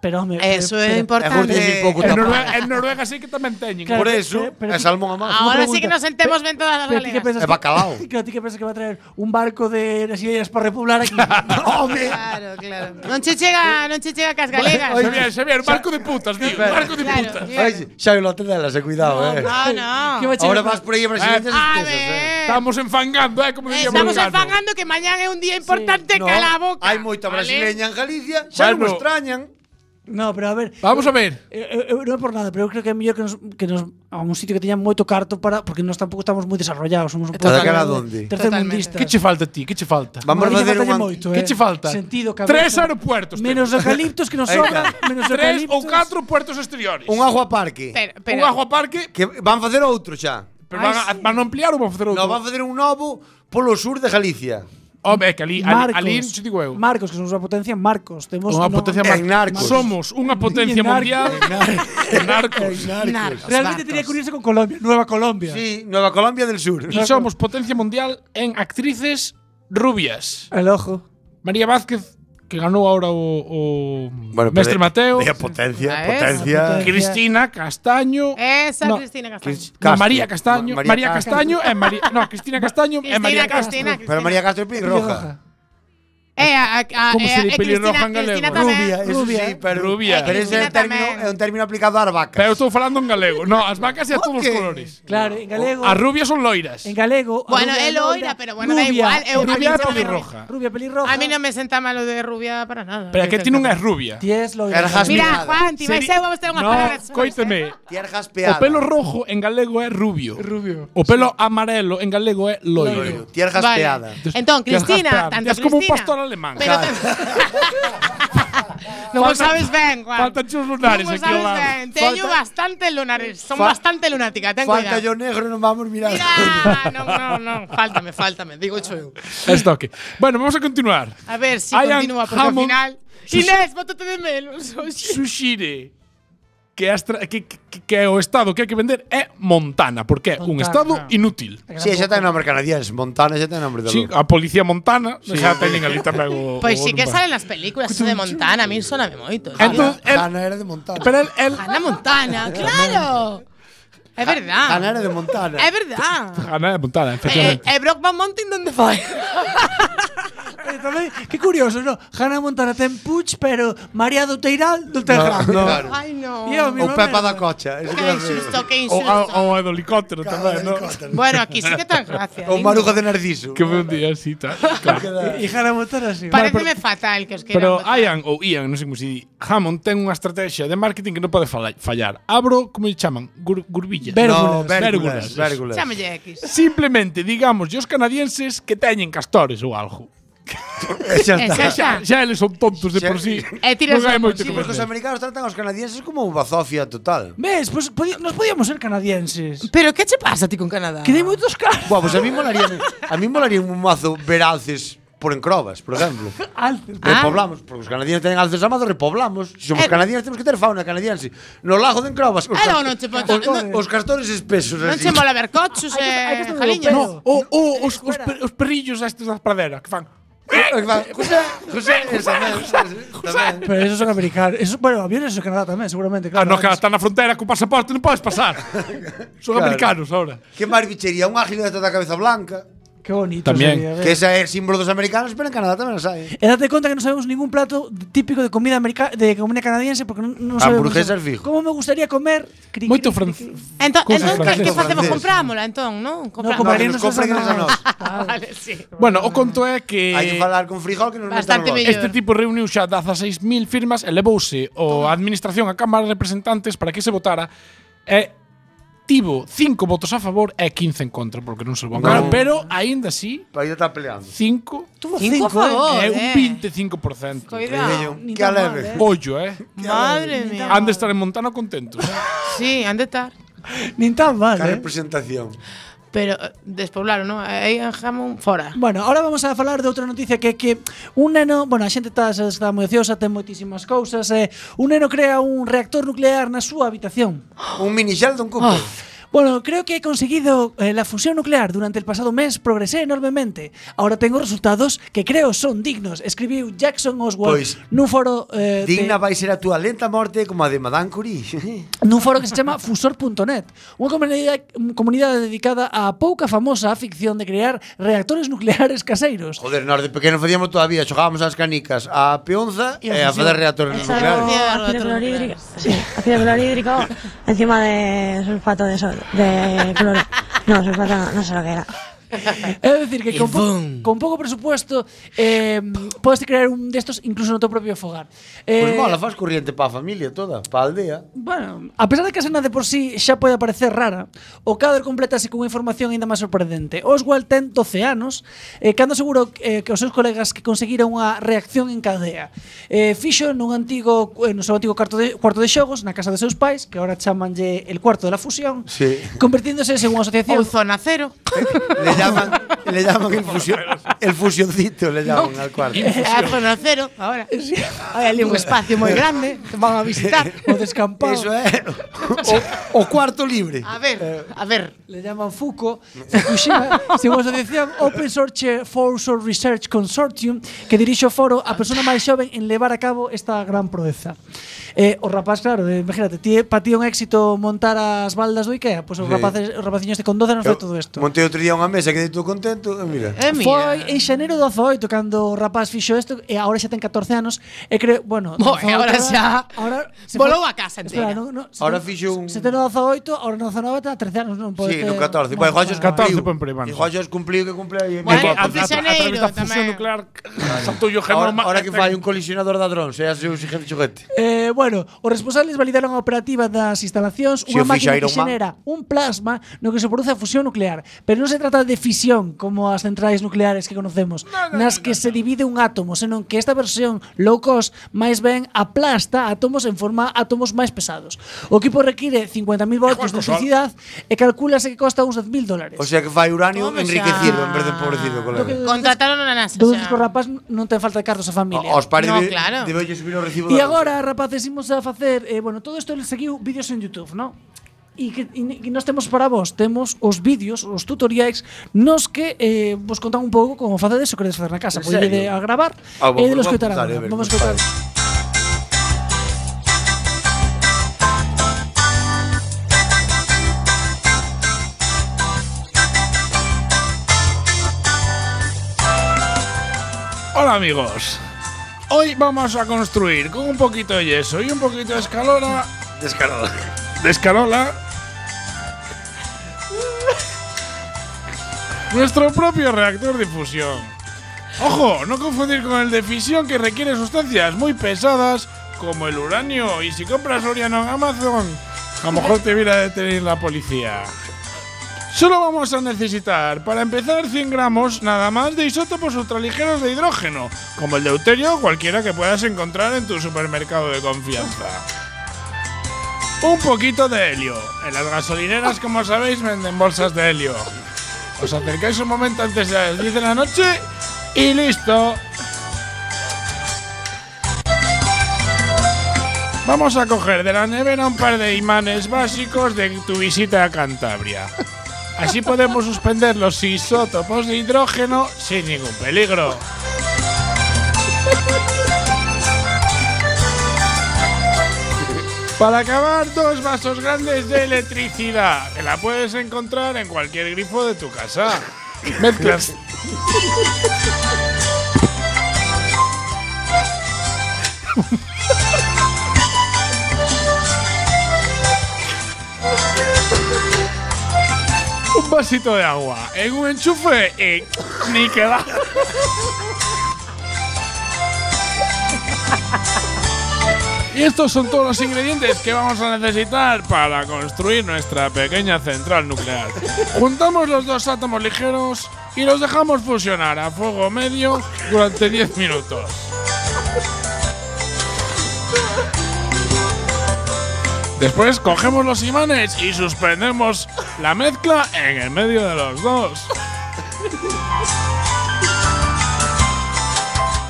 Pero, home, Eso é pero- É justo dicir pouco importante. En tamén. Noruega, en Noruega sí que tamén teñen. Claro. Por eso, pero- é pero- salmón a máis. Unha Ahora sí pregunta. que nos sentemos ben todas as (laughs) Pero ti que galegas. pensas É bacalao. Que, claro, ti que pensas que va a traer un barco de las ideas para repoblar aquí. Home! Claro, claro. Non che chega, non che chega cas galegas. Oye, Xavier, Xavier, barco de putas, tío. Barco de Claro, putas. claro. Ai, xa o lote delas, e cuidado, eh. Ah, no. Que va a Ahora chegar- vas por aí a A brasileñas espesas, eh. ver. Estamos enfangando, eh, como Eh, diría Estamos Vulcano. enfangando que mañán é un día importante cala a boca. hai moita ¿vale? brasileña en Galicia, xa non Bueno. nos extrañan. No, pero a ver. eh, Vamos a ver. Eu, eu, eu non é por nada, pero eu creo que é mellor que nos, que nos a un sitio que teña moito carto para porque nós tampouco estamos moi desarrollados, somos un pouco Totalmente. Cara donde? tercermundistas. Que che falta a ti? Que che falta? Vamos a Mariña, facer unha... faltalle moito, eh. Que che falta? Sentido, cabeza. Tres aeropuertos. Menos temos. eucaliptos que nos Ahí sobran, está. menos (laughs) Tres eucaliptos. ou catro puertos exteriores. Un agua parque. Pero, pero, Un agua parque. Que van facer outro xa. Pero Ai, van, a, sí. van a ampliar ou van a facer outro? No, van facer un novo polo sur de Galicia. Home, é que ali, ali, Marcos, ali non che digo eu. Marcos, que somos unha potencia, Marcos. eh, Temos Unha potencia en Narcos. Somos unha potencia En Narcos. mundial. En Narcos. narcos, Realmente narcos. tenía que unirse con Colombia, Nueva Colombia. Sí, Nueva Colombia del Sur. Y somos potencia mundial en actrices rubias. El ojo. María Vázquez, que ganó ahora o, o Bueno, Mestre pero de- Mateo. de potencia, Ah, potencia. esa. Cristina Castaño. Esa No. Cristina Castaño. Cris- No, Castro. María Castaño. Ma- María, Castaño. eh. é María- no, Cristina Castaño. é Cristina, María Castro. Cristina, Cristina. Pero María Castro é pelirroja. Eh, a, a, a, Como eh, se di eh, pelirroja Cristina- en galego? Cristina tamén. Rubia, eh. eso Rubia, sí, pero, Rubia. pero ese é Cristina un término, tamén. é un término aplicado ás vacas. Pero estou falando en galego. No, as vacas é a todos os colores. Claro, en galego. As rubias son loiras. En galego. a Bueno, rubia é loira, loira, pero bueno, da igual, é é unha Rubia é pinza de pelirroja. Rubia pelirroja. A mí non me senta malo de rubia para nada. Pero que ti non é rubia. Ti es loira. Era jasmín. Mira, Juan, ti vais a Seri- vamos ter unhas No, palabras. suaves, eh. coíteme. Tiar O jaspeada. pelo rojo en galego é rubio. Rubio. O pelo amarelo en galego é loiro. Tiar jaspeada. Vale. Entón, Te has Cristina, raspado. tanto Te has como un Cristina. pastor alemán. Pero (laughs) non o sabes ben, Juan. Faltan chus lunares Non o aquí sabes ao lado. ben. Teño Falta- bastante lunares. Son Fal- bastante lunática, ten Falta cuidado. yo negro, non vamos mirar. Mira, non, non, non. Fáltame, fáltame. Digo cho eu. Es toque. Bueno, vamos a continuar. A ver si Ian continúa, porque al Hammond- final… Sus- Inés, bótate de Oh, menos. oxe. Sushire, que, as tra- que, que, que é o estado que hai que vender é Montana, porque é un Montana. estado inútil. (laughs) Sí, xa ten nombre canadiense, Montana xa ten nombre de Sí, loco. a policía Montana sí. xa teñen ali tamén o Pois Pues o sí que lugar. salen nas películas eso de Montana, a mí soname moito. tío. Entón, el, Hanna era de Montana. eh, pero el, el Hannah Montana, claro. É Hanna era verdade. de Montana. É verdade. Ana de Ah, Montana, E, efectivamente. e Brockman Mountain onde foi? Eh, tamén, que curioso, non? Hannah Montana ten Puig, pero María do Teiral do ten No, no, claro. Ai, non. Tío, mi- O Pepa da Cocha. ese que Que era feo. insusto, que o, a- insusto. o a do helicóptero tamén, no? Bueno, aquí sí que tan gracia. ¿eh? O Maruja de Narciso. Que un día así, (laughs) tal. Claro. E Hannah Montana sí. Pareceme fatal que os queiran Pero botar. Ian ou Ian, non sei como se di, Hammond ten unha estrategia de marketing que non pode fala- fallar. Abro, como lle chaman, Gur gurbillas. No, Vérgulas. vérgulas, vérgulas. Chámelle X. Simplemente digamos aos canadienses que teñen castores ou algo. (laughs) Xa E está. xa está. Xa, xa eles son tontos de Xa- por (laughs) sí. E tiras non da hai moito que mochila. Os facer. americanos tratan aos canadienses como unha bazofia (laughs) total. Ves, pois podi- nos podíamos ser canadienses. Pero que che pasa ti con Canadá? Que dei moitos caras. Buah, pois a mí molaría, a mí molaría un mazo Veraces por encrobas, por exemplo. Alces. Repoblamos, porque os canadienses teñen alces amados, repoblamos. Se Ah. somos Eh. canadienses, temos que ter fauna canadiense. No lago de encrobas, os, Era o ca- non che pon- os, os castores espesos. Non así. (laughs) che mola ver cochos e jaliños. No, o, o os, os, per, os perrillos estes das praderas que fan. Eh, José, José, esa mesa, tamén. Pero esos son americanos. Esos, bueno, había esos en Canadá tamén, seguramente. Ah, Claro, no, que están na fronteira con pasaporte, non podes (laughs) pasar. Son Claro. americanos ahora. Que máis bichería, un ágil desta da cabeza blanca. Qué bonito También. sería, a ver. Que esa é símbolo dos americanos, pero en Canadá tamén os hai. E date conta que no sabemos ningún plato típico de comida america de comida canadiense porque non, non sabemos. Hamburguesas fijo. Como me gustaría comer? Cri, Moito cri, fran- cri, cri. Entón, Cousas entón que, que francesas. facemos? Comprámola, entón, non? No, Comprámola. que compraríamos nos compren esas esas a nós. (laughs) Ah, vale, sí. Bueno, o conto é que Hai que falar con frijol que nos Eh, metan Bastante logo. mellor. este tipo reuniu xa 16.000 firmas e levouse o a administración a Cámara de Representantes para que se votara e tivo 5 votos a favor e 15 en contra, porque non se votaron, pero aínda así Para ir a estar peleando. 5 Tuvo Cinco a cinco, eh. favor, é un e eh. 25%. Cuidado. Bello, Que aleve. Pollo, eh. Madre mía. Han de estar en Montana contentos. eh. Sí, han de estar. Nin tan mal, Que eh. representación. Pero eh, despoblaron, non? Aí en jamón fora. Bueno, ahora vamos a falar de outra noticia que é que un neno, bueno, a xente está, está moi ociosa, ten moitísimas cousas, eh, un neno crea un reactor nuclear na súa habitación. Un mini Sheldon Cooper. Bueno, creo que he conseguido eh, la fusión nuclear durante el pasado mes, progresé enormemente. Ahora tengo resultados que creo son dignos, escribiu Jackson Oswald Pois, nun foro eh, Digna de, vai ser a túa lenta morte como a de Madame Curie. nun foro que se chama fusor.net, unha comunidade, unha comunidade dedicada á pouca famosa ficción de crear reactores nucleares caseiros. Joder, nós de pequeno facíamos todavía, xogábamos as canicas a peonza e, E a a fusión. fazer reactores nucleares. ácido clorhídrico. Sí, ácido clorhídrico encima de sulfato de sol, de cloro. No, sulfato no, no sé lo que era. É dicir que con, po boom. con pouco presupuesto eh, podes crear un destos incluso no teu propio fogar. Pois Eh, mola, faz corriente para a familia toda, para a aldea. Bueno, a pesar de que a cena de por sí xa pode parecer rara, o cadro complétase con información aínda máis sorprendente. Oswald ten 12 anos, eh, cando asegurou eh, que os seus colegas que conseguiran unha reacción en cadea. Eh, fixo nun antigo, eh, no seu antigo cuarto de, cuarto de xogos, na casa dos seus pais, que ahora chamanlle el cuarto de la fusión, Sí. convertíndose según a Ou asociación zona cero. le llaman, le llaman el, fusión, el fusioncito, le llaman al cuarto. (laughs) A Ah, zona cero, ahora. (laughs) Hai ali un espacio moi grande, te van a visitar. o descampado. Eso é o, o cuarto libre. A ver, Eh, a ver. le llaman FUCO, Fukushima, (laughs) según a asociación Open Source Force Research Consortium, que dirixe o foro a persona máis xoven en levar a cabo esta gran proeza. Eh, o rapaz, claro, eh, imagínate, ti, pa ti é un éxito montar as baldas do Ikea, pois pues, os, Sí. rapaces, os rapaciños de con 12 non Eu foi todo isto. Montei outro día unha mesa que dei todo contento, e mira. Eh, mira. Foi en xaneiro do 18 cando o rapaz fixo isto e agora xa ten 14 anos e creo, bueno, Bo, e 18 agora xa agora volou foi- a casa Espera, entera. non, non, se Ahora ten- fixo un- Se ten o 18, agora no 19 ten 13 anos, non pode Sí, ter- no 14. Bueno, Pois Jojos bueno. 14 cumpliu. pon primando. E Jojos cumpliu que cumpliu. e- Bueno, a, a, a, once de a través xaneiro da fusión tamén. nuclear saltou o Ahora, genoma. ahora que fai un colisionador de hadróns, é a seu xigente xoguete. Eh, bueno, os responsables validaron a operativa das instalacións Se o unha fixa máquina que Iron Man. xenera un plasma no que se produce a fusión nuclear, pero non se trata de fisión como as centrais nucleares que conocemos, nas que se divide un átomo, senón que esta versión low cost máis ben aplasta átomos en forma átomos máis pesados. O equipo require 50.000 voltios Igual que de o Sol. electricidade e calculase que costa uns 10.000 dólares. O sea que fai uranio Toma xa. enriquecido en vez de empobrecido, colega. Contrataron a NASA. o Todos sea. os rapaz non ten falta de cartos a familia. Os pares No, de, claro. debe lle subir o recibo E da luz. agora, rapaces, imos a facer, eh, bueno, todo isto seguiu vídeos en YouTube, non? E que, e, ne- que nós temos para vos, temos os vídeos, os tutoriais nos que eh, vos contan un pouco como facedes o queredes facer na casa. En Podéis serio? a gravar Ah, e vou- de los vou que apuntar, a ver, Vamos a vale. escutar. Hola amigos. Hoy vamos a construir con un poquito de yeso y un poquito de escalona. Descarado. De escalola. nuestro propio reactor de fusión. Ojo, no confundir con el de fisión que requiere sustancias muy pesadas como el uranio. Y si compras Oriano en Amazon, a lo mejor te viene a detener la policía. Solo vamos a necesitar, para empezar, 100 gramos nada más de isótopos ultraligeros de hidrógeno, como el deuterio o cualquiera que puedas encontrar en tu supermercado de confianza. Un poquito de helio. En las gasolineras, como sabéis, venden bolsas de helio. Os acercáis un momento antes de las 10 de la noche Y listo. Vamos a coger de la nevera un par de imanes básicos de tu visita a Cantabria. Así podemos suspender los isótopos de hidrógeno sin ningún peligro. Para acabar, dos vasos grandes de electricidad, que la puedes encontrar en cualquier grifo de tu casa. Mezclas. Un vasito de agua en un enchufe y ni que va. Y estos son todos los ingredientes que vamos a necesitar para construir nuestra pequeña central nuclear. Juntamos los dos átomos ligeros y los dejamos fusionar a fuego medio durante 10 minutos. Después cogemos los imanes y suspendemos la mezcla en el medio de los dos.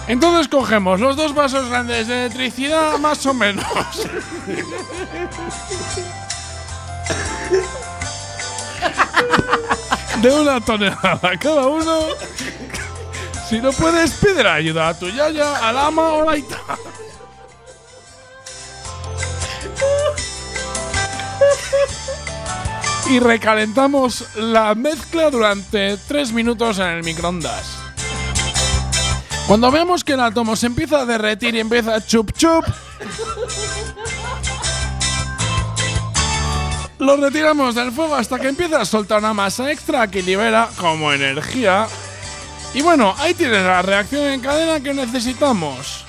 Entonces cogemos los dos vasos grandes de electricidad, más o menos. De una tonelada cada uno. Si no puedes, pide ayuda a tu yaya, al ama o la ita. Y recalentamos la mezcla durante 3 minutos en el microondas. Cuando vemos que el átomo se empieza a derretir y empieza a chup chup, lo retiramos del fuego hasta que empieza a soltar una masa extra que libera como energía. Y bueno, ahí tienes la reacción en cadena que necesitamos.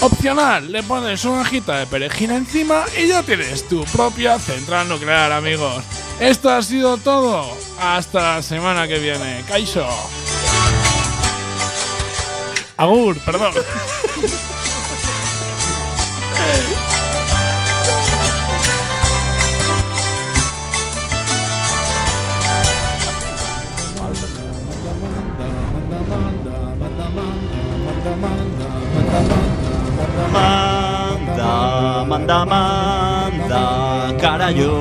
Opcional, le pones una hojita de perejil encima y ya tienes tu propia central nuclear, amigos. Esto ha sido todo. Hasta la semana que viene. Kaiso. Agur, perdón. Manda, manda, manda, carallo.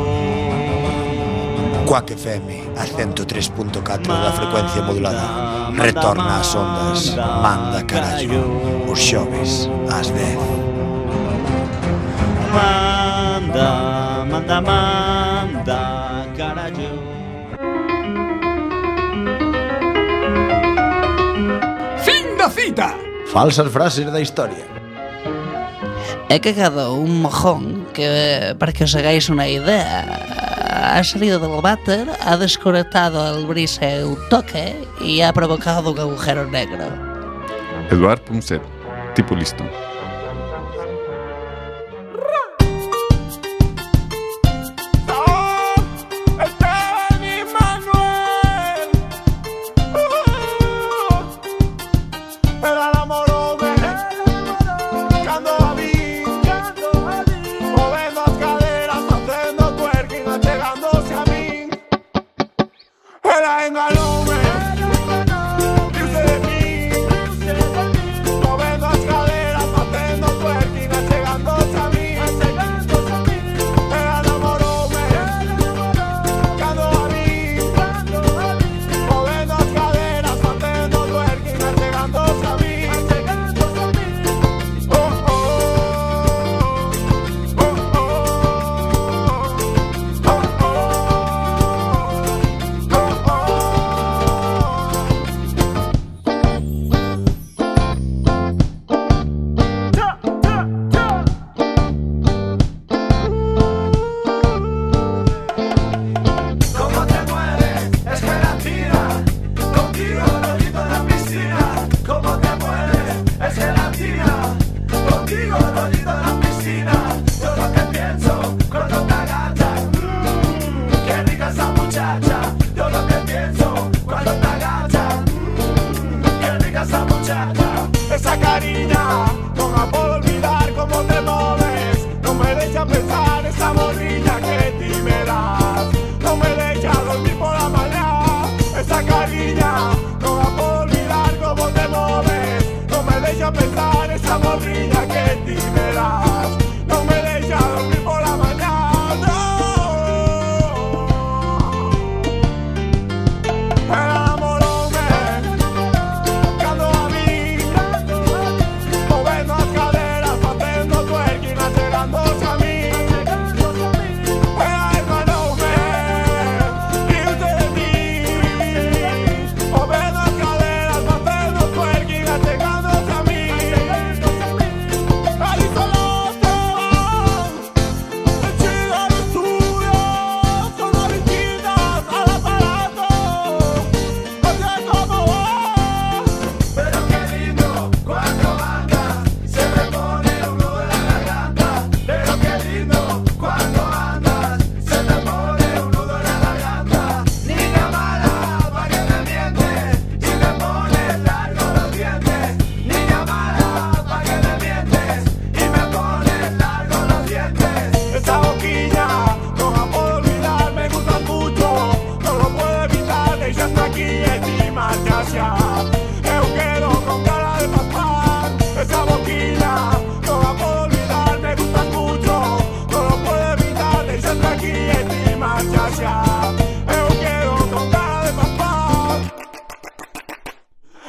Quack FM, a 103.4 da frecuencia modulada. Manda, Retorna ás ondas, manda carallo. Os xoves, ás 10. Manda, manda, manda, carallo. Fin da cita. Falsas frases da historia. He cagado un mojón que, para que os hagáis una idea, ha salido del váter, ha desconectado el brise un toque y ha provocado un agujero negro. Eduard Punset, tipo listo. Esteban y Manuel. Era el amor de Cando a mí, moviendo las caderas, haciendo twerking, llegándose a mí. Era en galope. Irse de mí, moviendo las caderas, haciendo twerking, llegándose a mí. Era enamorarme. Cuando a mí, moviendo las caderas, haciendo twerking, llegándose a mí. Oh, oh, oh, oh, oh, oh, oh, oh. ¿Cómo te mueves? Es gelatina. Contigo dorito en la piscina. ¿Cómo te mueves? Es gelatina. Contigo dorito en la piscina. Yo lo que pienso cuando te agachas. Mmm, qué rica esa muchacha. Yo lo que pienso cuando te agachas. Mmm, qué rica esa muchacha. Esa carilla, no la puedo olvidar cómo te mueves. No me deja pensar esa morrilla que ti me das. No me deja dormir por la mañana. Esa carilla, no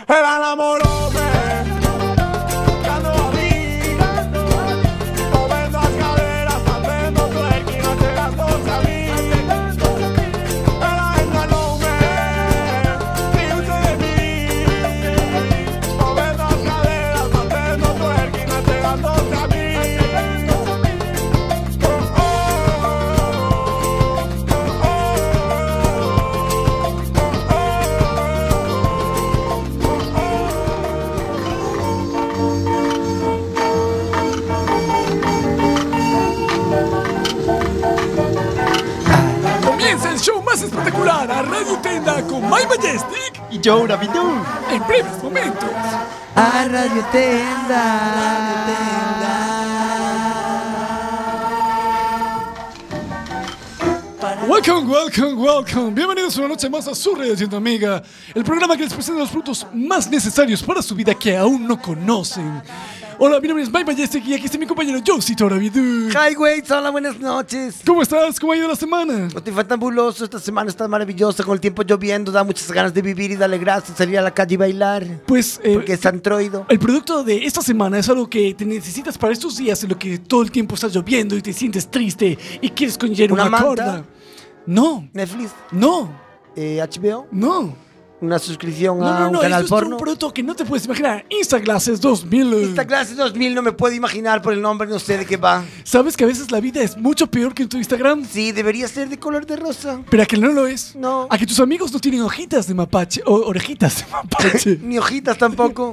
era la amorosa. Quando abrí, movendo as caderas, fazendo twerk e não chegando a mim. Ela enganou-me, riu-se de mim. Movendo as caderas, fazendo twerk e não chegando a mim. Oh, Comienza el show más espectacular a Radio Tenda con My Majestic y Joe Rabidoux. En breves momentos. A Radio Tenda. Welcome, welcome, welcome. Bienvenidos una noche más a su Radio Tienda Amiga, el programa que les presenta los productos más necesarios para su vida que aún no conocen. Hola, mi nombre es Mike Majestic y aquí está mi compañero Josie Torabidu. Hi, güey, hola, buenas noches. ¿Cómo estás? ¿Cómo ha ido la semana? Estoy fantabuloso, esta semana está maravillosa, con el tiempo lloviendo, da muchas ganas de vivir y darle gracias, salir a la calle y bailar. Pues, porque es antroido. El producto de esta semana es algo que te necesitas para estos días en lo que todo el tiempo está lloviendo y te sientes triste y quieres conllevar una, Una manta. corda. No. Netflix. eh, No. HBO. No. Una suscripción No, a no, un no, canal esto es un porno. producto que no te puedes imaginar. Instaglasses 2000. Instaglasses 2000 no me puedo imaginar por el nombre, no sé de qué va. ¿Sabes que a veces la vida es mucho peor que en tu Instagram? Sí, debería ser de color (laughs) de rosa. Pero a que no lo es. No. A que tus amigos no tienen hojitas de mapache o orejitas de mapache. Ni hojitas tampoco.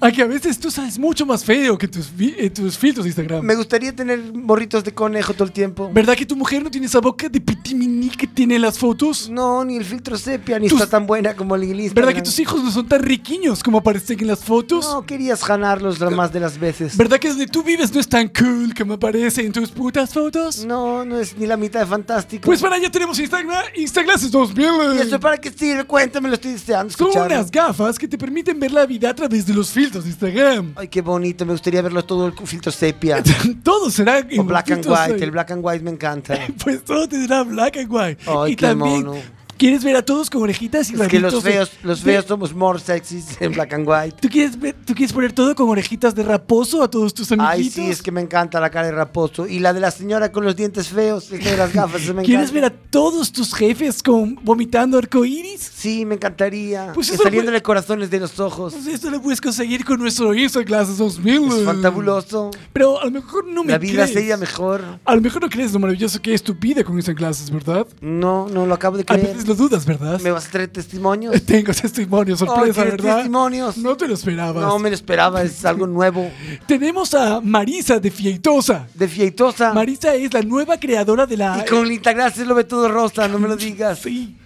a que a veces tú sabes mucho más feo que tus, fi- eh, tus filtros de Instagram. Me gustaría tener borritos de conejo todo el tiempo. ¿Verdad que tu mujer no tiene esa boca de pitimini que tiene en las fotos? No, ni el filtro sepia, ni está tan buena como el inglés. ¿Verdad que tus hijos no son tan riquiños como aparecen en las fotos? No, querías ganarlos la más de las veces. ¿Verdad que donde tú vives no es tan cool como aparece en tus putas fotos? No, no es ni la mitad de fantástico. Pues para allá tenemos Instagram, Instaglasses 2000. ¿Y eso para qué sirve? Cuéntame, lo estoy deseando Son escuchar. unas gafas que te permiten ver la vida a través de los filtros de Instagram. (laughs) Ay, qué bonito, me gustaría verlos todo el filtro sepia. Todo será en o black and filtros, white, eh, el black and white (laughs) me encanta. Pues todo tendrá black and white. Ay, y qué también mono. quieres ver a todos con orejitas y Es que los rabitos de- feos, los de- feos somos more sexys en black and white. ¿Tú quieres, ver- ¿Tú quieres poner todo con orejitas de raposo a todos tus amiguitos? Ay, sí, es que me encanta la cara de raposo. Y la de la señora con los dientes feos, es que de las gafas, se me encanta. ¿Quieres ver a todos tus jefes con vomitando arcoíris? Sí, me encantaría. Pues Eh, eso saliéndole corazones de los ojos. Pues esto lo puedes conseguir con nuestro Instagram 2000. Es fantabuloso. Pero a lo mejor no me La vida crees. sería mejor. A lo mejor no crees lo maravilloso que es tu vida con Instagram clases, ¿verdad? No, no lo acabo de A creer. veces pues lo dudas, ¿verdad? ¿Me vas a traer testimonios? (laughs) Tengo testimonios, sorpresa, Ay, qué ¿verdad? testimonios. No te lo esperabas. No me lo esperaba, es algo nuevo. Tenemos a Marisa de Fietosa. De Fietosa. Marisa es la nueva creadora de la. Ah. Y con Instagram se lo ve todo rosa, no me lo (laughs) digas. eh. Sí.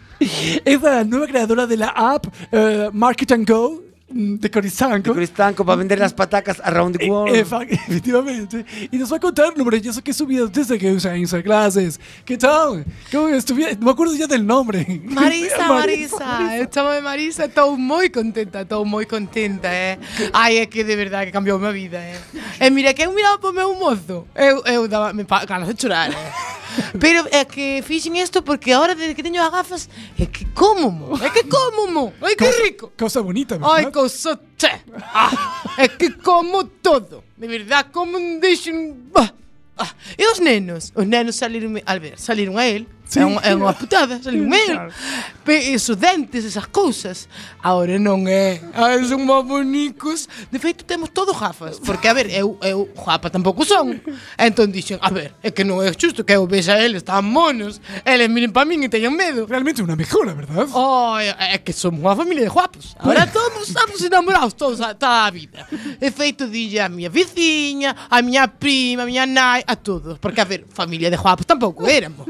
Es la nueva creadora de la app eh, Market and Go mm, de Coristanco. Cristanco para vender las patacas around the eh, world. Efa- Eh, (laughs) Efectivamente. Y nos va a contar lo maravilloso que es su vida desde que usa Instagram Clases. ¿Qué tal? ¿Cómo estuvi- No me acuerdo ya del nombre. (laughs) Marisa, Marisa, eu chamo Marisa, estou moi contenta, estou moi contenta, eh. Ai, é que de verdade que cambiou a miña vida, eh. E mira que eu miraba para o meu mozo, eu, eu daba me pa- ganas de chorar, eh. Pero é que fixen isto porque ahora desde que teño as gafas, é que como mo, é que como mo, ai que rico. Cosa bonita, ¿verdad? Ai, couso che. Ah, é que como todo. De verdade, como un deixo... Ah, ah. E os nenos? Os nenos saliron al ver, saliron a ele. Sí. É, unha, é unha putada, saliron a ele. Pe, e os dentes, esas cousas. Agora non é. Ai, eh. son má bonicos. De feito, temos todos gafas. Porque, a ver, eu, eu guapa tampouco son. Entón dixen, a ver, é que non é xusto que eu vexa eles tan monos. Eles miren para min e teñan medo. Realmente una mejora, ¿verdad? Oh, é que somos unha familia de guapos. Ahora todos estamos enamorados, todos a, toda a vida. E feito dille a miña veciña, a miña prima, a miña nai, a todos. Porque, a ver, familia de guapos tampouco éramos.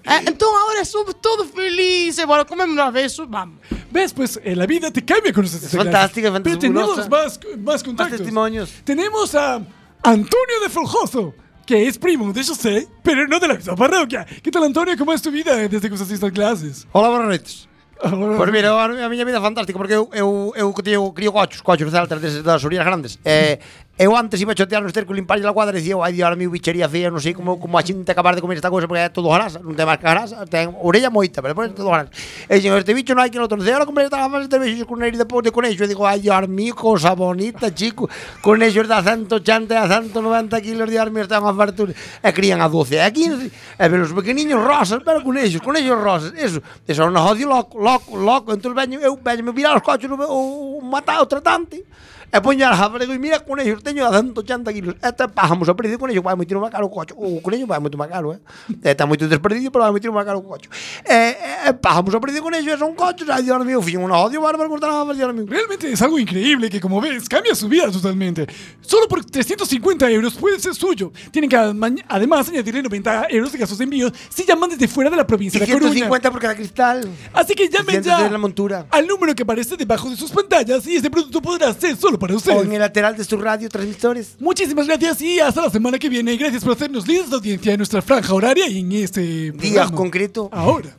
Eh, entón, ahora somos todos felices. Bueno, comemos unha vez, vamos. ¿Ves? Pues eh, la vida te cambia con esas fantástica, clases. Pero tenemos fantabulosa. más, más contactos. testimonios. Tenemos a Antonio de Folgoso, que es primo de José, pero no de la misma parroquia. ¿Qué tal, Antonio? ¿Cómo es tu vida eh, desde que usas estas clases? Hola, boas noites. Ahora- Pues Pois mira, a, a miña vida é fantástica porque eu eu eu que teño crio cochos, cochos de altas desde das orillas grandes. E Eh, Eu antes iba a chotear nos cercos, limparlle a cuadra e dicía, "Oh, ai, Dios, ahora mi bichería fea, non sei como, como a xente acabar de comer esta cosa porque é todo grasa, non ten máis que grasa, ten orella moita, pero depois é todo grasa. E dixen, este bicho non hai que lo torcer, ahora comprei esta gafas de bichos con nariz de po- de conexo, e digo, ai, Dios, mi cosa bonita, chico, conexos da 180 a 190 kilos de armi, está unha fartura, e crían a 12, a 15, e ver os pequeniños rosas, pero conexos, conexos rosas, eso, eso era un odio loco, loco, loco, entón veño, eu veño, me virar os coches, o, o, o matado, o tratante, E poño a jabra e digo, mira, conello, teño a 180 kilos. Este pájamo, o precio do conello, vai moito máis caro o cocho. O conello vai moito máis caro, eh? Está moito desperdicio, pero vai moito máis caro o cocho. E, e pájamo, o precio do conello, é un cocho. Ai, Dios mío, fillo, un odio bárbaro cortar a jabra, Dios mío. Realmente es algo increíble que, como ves, cambia su vida totalmente. Solo por 350 euros puede ser suyo. Tienen que ama- además añadirle 90 euros de gastos de envíos si llaman desde fuera de la provincia Y de La Coruña. 150 por cada cristal. Así que llamen 300 ya de la montura. al número que aparece debajo de sus pantallas y este producto podrá ser solo para ustedes. O en el lateral de su radio, transmisores. Muchísimas gracias y hasta la semana que viene. Y gracias por hacernos líderes de audiencia en nuestra franja horaria y en este Día programa. concreto. Ahora.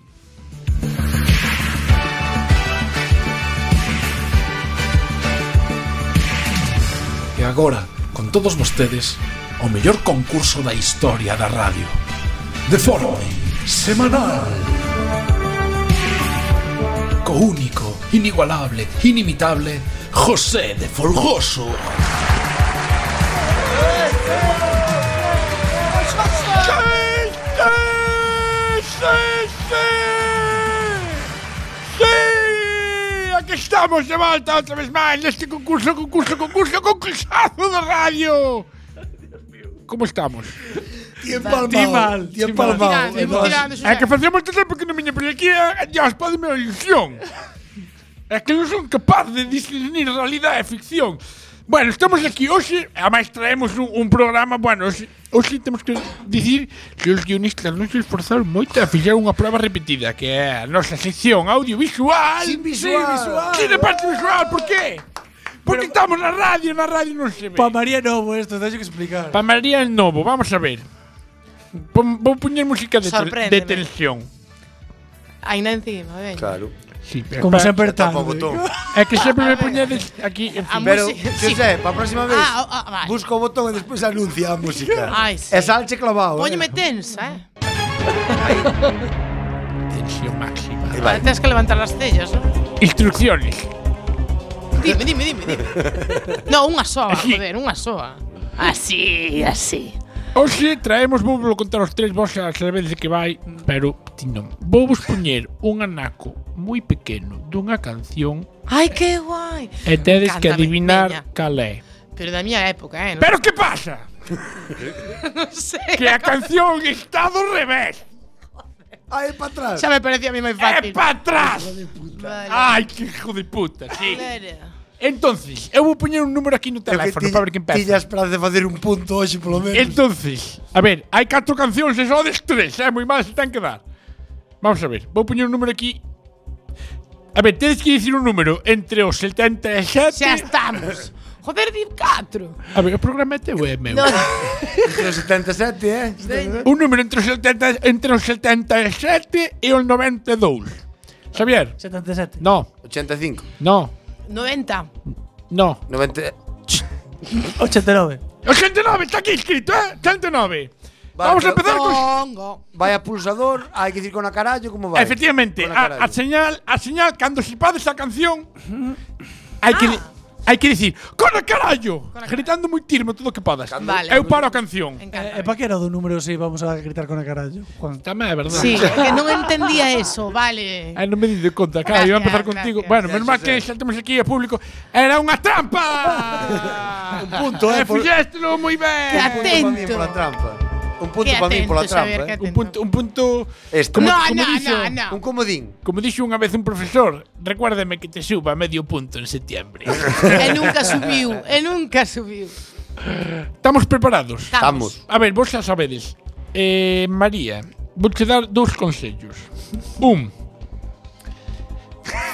E agora, con todos vostedes, o mellor concurso da historia da radio. De forma semanal. Co único, inigualable, inimitable, José de Folgoso. ¡Sí! Aquí estamos de vuelta otra vez más en este concurso, concurso, concurso, concursazo de radio. ¿Cómo estamos? Bien palmao, bien palmao. Ah, Tirando, tirando, tirando, É que facemos tanto porque non miña pelequía ya os pode a ilusión. É que non son capaz de discernir realidade e ficción. Bueno, estamos aquí hoxe, e ademais traemos un, un programa, bueno, hoxe, hoxe temos que dicir que os guionistas non se esforzaron moito a fixar unha prova repetida, que é a nosa sección audiovisual. Sin visual. Sin visual. Sin parte visual, por qué? Porque estamos na radio, na radio non se ve. Pa María Novo esto, teño pues, que explicar. Pa María Novo, vamos a ver. Pon- Vou poñer música de, tel- de Sorpréndeme. tensión. Ainda encima, veña. Sí, Como eh. sempre tan. É que sempre me poñedes aquí en A Pero, música, sí. José, para a próxima vez, Ah, ah, ah, vale. busca É o botón e despois anuncia a música. Ai, sí. E salche clavado. Póñeme tensa, eh. Tensión máxima. Ahora Tienes que levantar las cellas, ¿no? Instrucciones. Dime, dime, dime, (laughs) dime. No, unha É soa, joder, unha soa. Así, así. Hoxe traemos, vou volo contar os tres vos as veces que vai, pero ti non. Vou vos poñer un anaco moi pequeno dunha canción Ay, qué guay. e tedes que Cántame, adivinar veña. cal é. Pero da miña época, eh. Pero que pasa? no (laughs) sé. Que a canción está do revés. Ay, para atrás. Ya me parecía a mí muy fácil. É para atrás. Vale. Ai, que hijo de puta, sí. Claro. Entonces, eu vou poñer un número aquí no teléfono para ver que empeza. Tiña esperanza de facer un punto hoxe, polo menos. Entonces, a ver, hai catro cancións e só des tres, é moi mal se ten que dar. Vamos a ver, vou poñer un número aquí. A ver, tedes que dicir un número entre os 77... Xa estamos. Joder, di 4. A ver, o programa é teu, é meu. No. entre os 77, eh? Veña. Un número entre os, 70, entre os 77 e os 92. Xavier? 77. No. 85. No, 90. no. 90. 89. 89, e está aquí escrito, eh? 89. Vamos a empezar con... Congo. Vai a pulsador, hai que dicir con a carallo como vai. Efectivamente, Con a, a carallo. señal, a señal, cando se pade esa canción, hai que, hai que dicir, con a carallo, gritando moi tirmo todo o que podas. Vale. Eu paro a canción. É para Eh, que era do número se íbamos a gritar con a carallo, Juan? Tamén é verdade. Sí, que non entendía eso, vale. Ai, non me di de conta, claro, iba a empezar Gracias, contigo. gracias. Bueno, menos mal que xa temos aquí a público. Era unha (laughs) trampa! Un punto, eh, eh. por- Fixéstelo moi ben. Que atento. Un punto pa Que min pola trampa. Un punto para min pola atento, Xavier, trampa. que eh. atento. Un punto, un punto. Este. Como- No, Ah, como no, dixo- no, Un comodín. Como dixo unha vez un profesor, recuérdame que te suba medio punto en septiembre. E nunca subiu, e nunca subiu. Estamos preparados. Estamos. A ver, vos xa sabedes. Eh, María, vou te dar dous consellos. Un,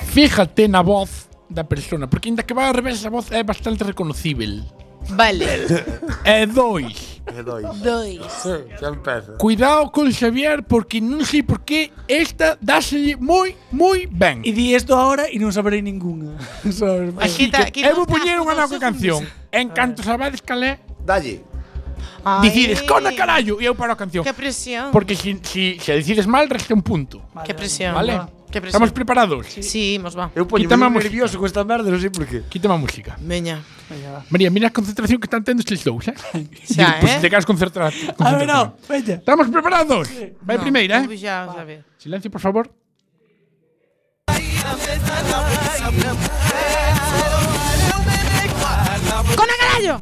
fíjate na voz da persona, porque ainda que va a revés a voz é bastante reconocível. Vale. E dois, dije dois. Dois. Sí, xa empeza. Cuidado con Xavier porque non sei por que esta dáse moi, moi ben. E di isto agora e non saberei ninguna. Sabes? Así Quita- que quita eu vou os poñer unha nova tazos, os canción. En canto sabades cal é, dalle. Decides, cona carallo, e eu paro a canción. Qué presión. Porque si, si, se decides mal, resta un punto. Qué presión. Vale? va. Qué presión. Estamos preparados? Sí, nos va. Eu poño moi nervioso con esta merda, non sei por qué. Quítame a música. Veña. María, mira a concentración que están tendo estes dous, eh? Xa, Pois eh? te quedas concentrado. A ver, no, veña. Estamos preparados? Vai No, primeira, eu eh? Xa, xa ve. Silencio, por favor. Cona carallo.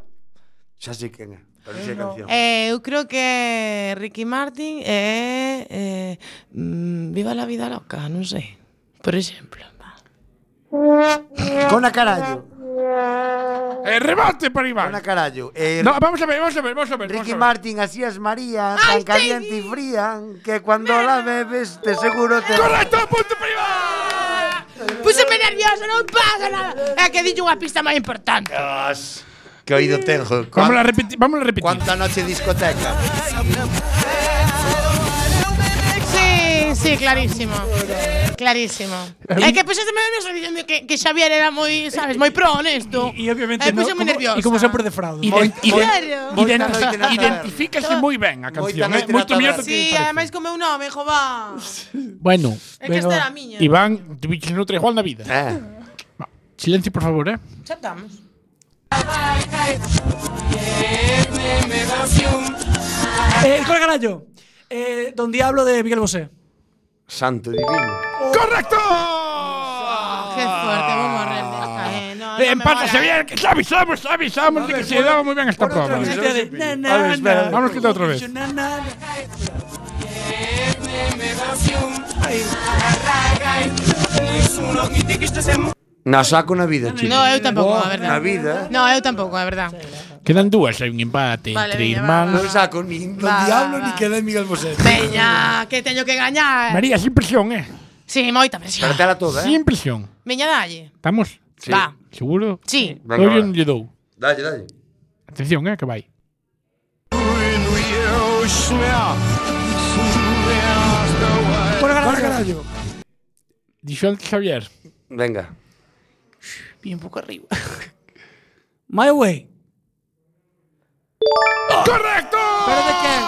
Xa sei quen é, pero sei a canción. Eh, eu creo que Ricky Martin é eh, mm, Viva la vida loca, non sei. Por exemplo. Cona carallo. Eh, remate para Iván. Cona carallo. Eh, No, vamos a ver, vamos a ver, vamos a ver. Ricky vamos a ver. Martin, así es María, tan caliente y fría, que cuando la bebes te seguro te... ¡Correcto, Púseme nervioso, non pasa nada. É que dille unha pista máis importante. Dios, qué oído tengo. Vamos a repetir, vamos a repetir. ¿Cuánta noche discoteca? Sí, sí, clarísimo. Clarísimo. É que pues, puxésteme nervioso dicindo que, que Xavier era moi, sabes, moi pro honesto. E eh, obviamente puxéme no, como- nerviosa. e como sempre defraudo. Ident- Claro. ident- ident- Identifícase moi ben a canción. eh? Moito mellor do Sí, que parece. ademais come un nome, jo, va. Bueno, É que esta era a miña. Iván, te bicho noutra igual na vida. Va, Silencio, por favor, eh? Xa estamos. Eh, el Carallo. Eh, Don Diablo de Miguel Bosé. Santo divino. ¡Correcto! Qué fuerte, vou morrer de esta, eh. No, no Eh, me empata, mola. Xavier, que xa avisamos, xa avisamos de que se daba moi ben esta prova. vez, Vale, otra vez. Na, na, vale, espera, na. Vamos que está outra vez. Na, na, na. Na saco na vida, chico. No, eu tampouco, Boa, a verdade. Na vida. No, eu tampouco, a verdade. Quedan dúas, hai un empate Vale, entre veña, irmáns. Non saco nin do Va, va, diablo va. ni que de Miguel Bosé. Veña, Ah, que teño que gañar. María, sin presión, eh? Sí, moita presión. Tratala toda, eh? Sin presión. Veña, dalle. Estamos? Sí. Va. Seguro? Sí. Venga, Eu va. non lle dou. Dalle, dalle. Atención, eh, que vai. Cona Carallo. Dixo antes Xavier. Venga. Y un poco arriba. My Way. ¡Correcto! ¿Pero de quen?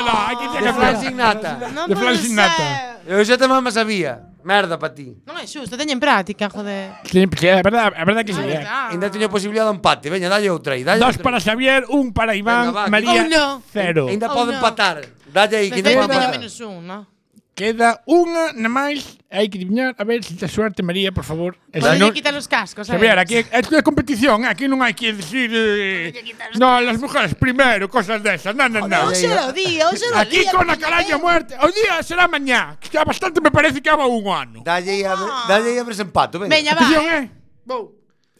No, aquí tiña De que Fran Signata. Non De Fran pode Signata. Eu xa tamén me sabía. Merda para ti. Non é xusto, teñen práctica, joder. Sempre, é verdade, é verdade que sí. eh. Ainda teño posibilidade de empate. Veña, dalle outra aí. Dalle Dos outra. para Xavier, un para Iván, Venga, va, María, oh, no. cero. Ainda pode empatar. Dalle aí, que Pensei que teño non é empatar. menos un, non? Queda unha na máis. Hai que adivinar. A ver se te suerte, María, por favor. E se Podelle non- quitar os cascos, eh. Xavier, aquí esto é competición, eh, aquí non hai que decir eh, No, las mujeres primero, cosas desas. No, no, Non no. se lo di, non se lo Aquí di. eh. con a caralla muerte. O día será mañá. Que xa bastante me parece que haba un ano. Dalle aí a ver, dalle aí a ver se empato, veña. Veña, va. Atención, eh. eh.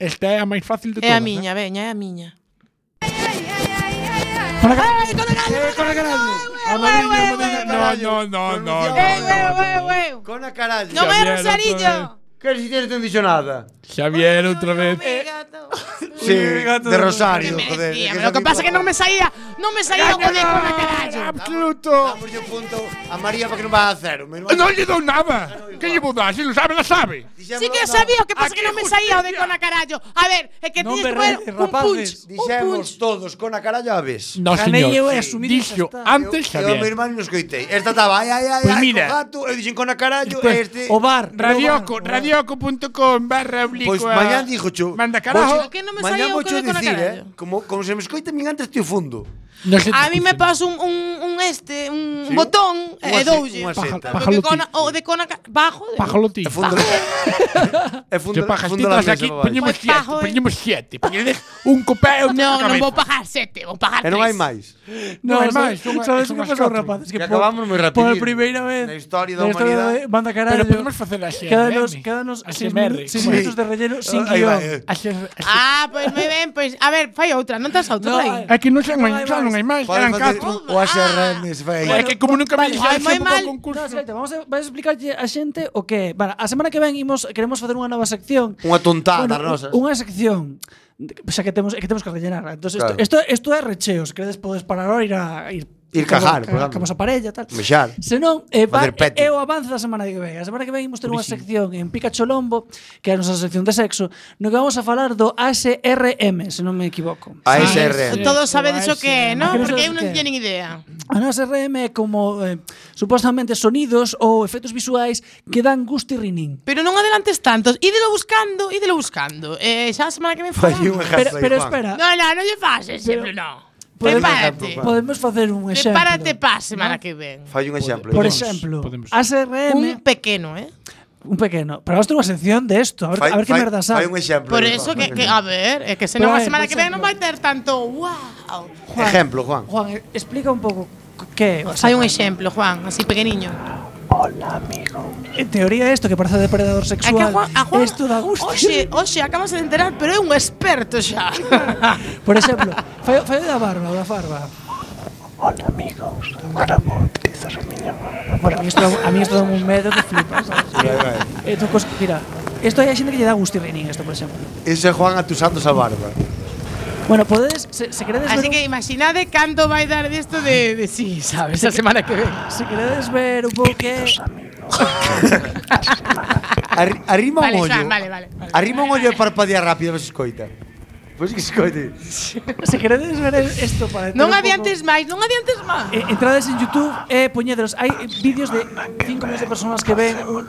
Esta é a máis fácil de É a todas. miña, veña, é a miña. Para cá. Cona carallo. No, no, no, no. no. Cona carallo. Non é Rosariño. Que si tienes non dixo nada. Xavier outra vez. Sí, de Rosario, joder. Tía, pero lo que pasa é que non me saía, non me saía o de cona carallo. Absoluto. Dámoslle un punto a María para que non vá a cero. menos mal. Non lle dou nada. Que lle vou dar? Se lo sabe, la sabe. Sí que sabía o que pasa é que non me saía o de cona carallo. A ver, é que Non tiñes que berredes, poner un punch. eh, Dixemos todos cona carallo a vez. No, Ganei señor. eu e Sí. asumí Dixo antes Eu a mi Xavier. irmán non escoitei. Esta estaba ai, ai, ai, Pois ai, mira. co gato, eu dixen cona carallo, Después, e este... Radioco, radioco.com barra oblicua. Pois mañán dixo cho. pois Manda carajo. Por que non me saía mañán o voucho que de cona dicir, carallo? eh, Como, como se me escoita, min antes tío fundo. Ah, A mí me paso un, un, un este, un Sí. botón Unha e se- doulle. unha seta. Porque cona- O de cona ca- bajo. de- Pajolotín. É Se fundo, pajas fundo la titas mesa, aquí, vai. poñemos Pues Pois pajo, siete, eh. poñemos siete. Poñedes un copé e outro Non, na non vou cabeza. pagar sete, vou pagar E tres. non hai máis. Non, é máis. Sabes- sabes que pasou, rapaz? Es que Que por- acabamos moi rápido. Por primeira vez. Na historia da na historia humanidade. da- Banda carallo. Pero podemos facer a XRM. Quédanos, quédanos A seis, XMR. minu- seis Sí. minutos de relleno sin Ahí va, guión. eh. Ah, pois moi ben, pois a ver, fai outra, non tens outra por aí. É que non xa non hai xa non hai máis, Pode eran facer catro. o ASRM, se vai aí. É que como nunca me Vale, dixeron moi sempre mal. con No, espérate, vamos a, vais a explicarlle a xente o que, é. Vale, a semana que ven imos queremos facer unha nova sección. Unha tontada, Bueno, rosas. Unha sección O sea, que temos, é que temos que rellenar. Entonces, isto, Claro. isto, isto é recheos. Credes podes parar ahora ir a ir, Ir cagar, por por exemplo. Camos a parella, tal. Mexar. Senón, eh, va, Facer petting. é o avance da semana que ven. A semana que ven imos ter unha sección en Pikachu Lombo, que é a nosa sección de sexo, no que vamos a falar do ASRM, se non me equivoco. ASRM. Todos sabedes o que é, Ah, non? que non Porque sabes eu o que non é. teño nin idea. A nosa RM é como eh, supostamente sonidos ou efectos visuais que dan gusto e rinín. Pero non adelantes tantos. Ídelo buscando, ídelo buscando. Eh, xa a semana que me fora. Fai Pero, unha jasa Pero- pero igual. espera. No, no, non lle fases, sempre non. Prepárate. Podemos facer un exemplo. Prepárate pa a semana que ven. Fai un exemplo. Por Dios. exemplo, Podemos. ASRM, un, Un pequeno, eh? pequeno. Pero vamos ter unha sección de esto, a ver, Fai- a ver que fai- merda fai sabe. un exemplo. Por eso que, que a ver, é que se Pero, non a eh, semana por que ven non vai ter tanto wow. Ejemplo, Juan. Juan, eh, explica un pouco que Hai un exemplo, Juan, así pequeniño. En teoría isto que parece depredador É que a sexual. Juan, a Juan Esto da gusto. Oxe, oxe, acabas de enterar, pero é un experto xa. (laughs) Por exemplo, fai, fai o da barba, o da farba. Hola amigos, agora vou utilizar a miña Bueno, a mí isto dá- a mí isto dá un medo que flipas. sabes? Eh, tú cos- mira, isto hai xente que lle dá gusto e renin isto, por exemplo. Ese Juan atusándose a barba. Bueno, podedes, se, se queredes Así ver que imaginade canto vai dar disto de, de sí, sabes, a semana que ven. Se queredes ver un pouco que... Arri- arrima Vale, un ollo. Juan, vale, vale, vale. arrima un ollo e parpadea rápido, a ver se escoita. Pois que se escoite. se queredes ver isto para... Non adiantes máis, non adiantes máis. Eh, entrades en YouTube e eh, poñedelos. Hai eh, vídeos de 5 millóns de personas que ven un-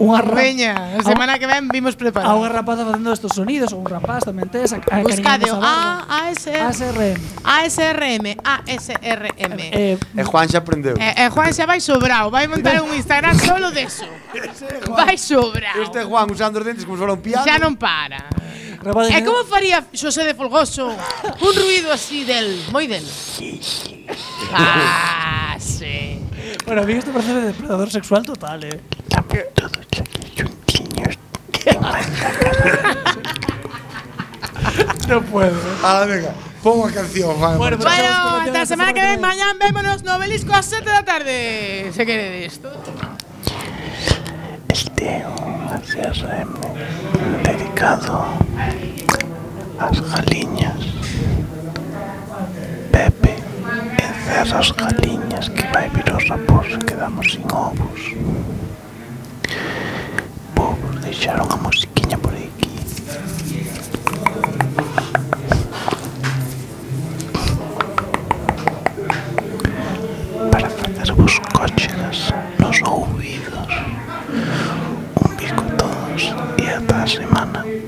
unha ra- Veña, a semana que ven vimos a unha preparado. rapaza facendo estes sonidos, ou un rapaz tamén tes, a, a Buscadeo cariñándose A, E. a barba. ASR. ASRM, ASRM. Eh, E Juan xa aprendeu. Eh, eh, Juan xa vai sobrao, vai montar un Instagram solo deso. Vai sobrao. Este Juan usando os dentes como se fora un piano. Xa non para. Rapaz, E como faría Xosé de Folgoso un ruido así del, moi del? Ah, sí. Bueno, a mí esto parece de depredador sexual total, eh. non puedo. Ah, venga. Pon a canción, Juan. Bueno, marcha. Bueno, hasta a semana que ven, mañá vémonos no Belisco ás 7 da tarde, se quere isto. Este CRM dedicado ás galiñas. Pepe encerra as galiñas que vai vir os rapós e quedamos sin ovos. Vou vos deixar unha musiquiña por aquí. Para facervos cóchegas nos ouvidos. Un bico a todos e ata a semana.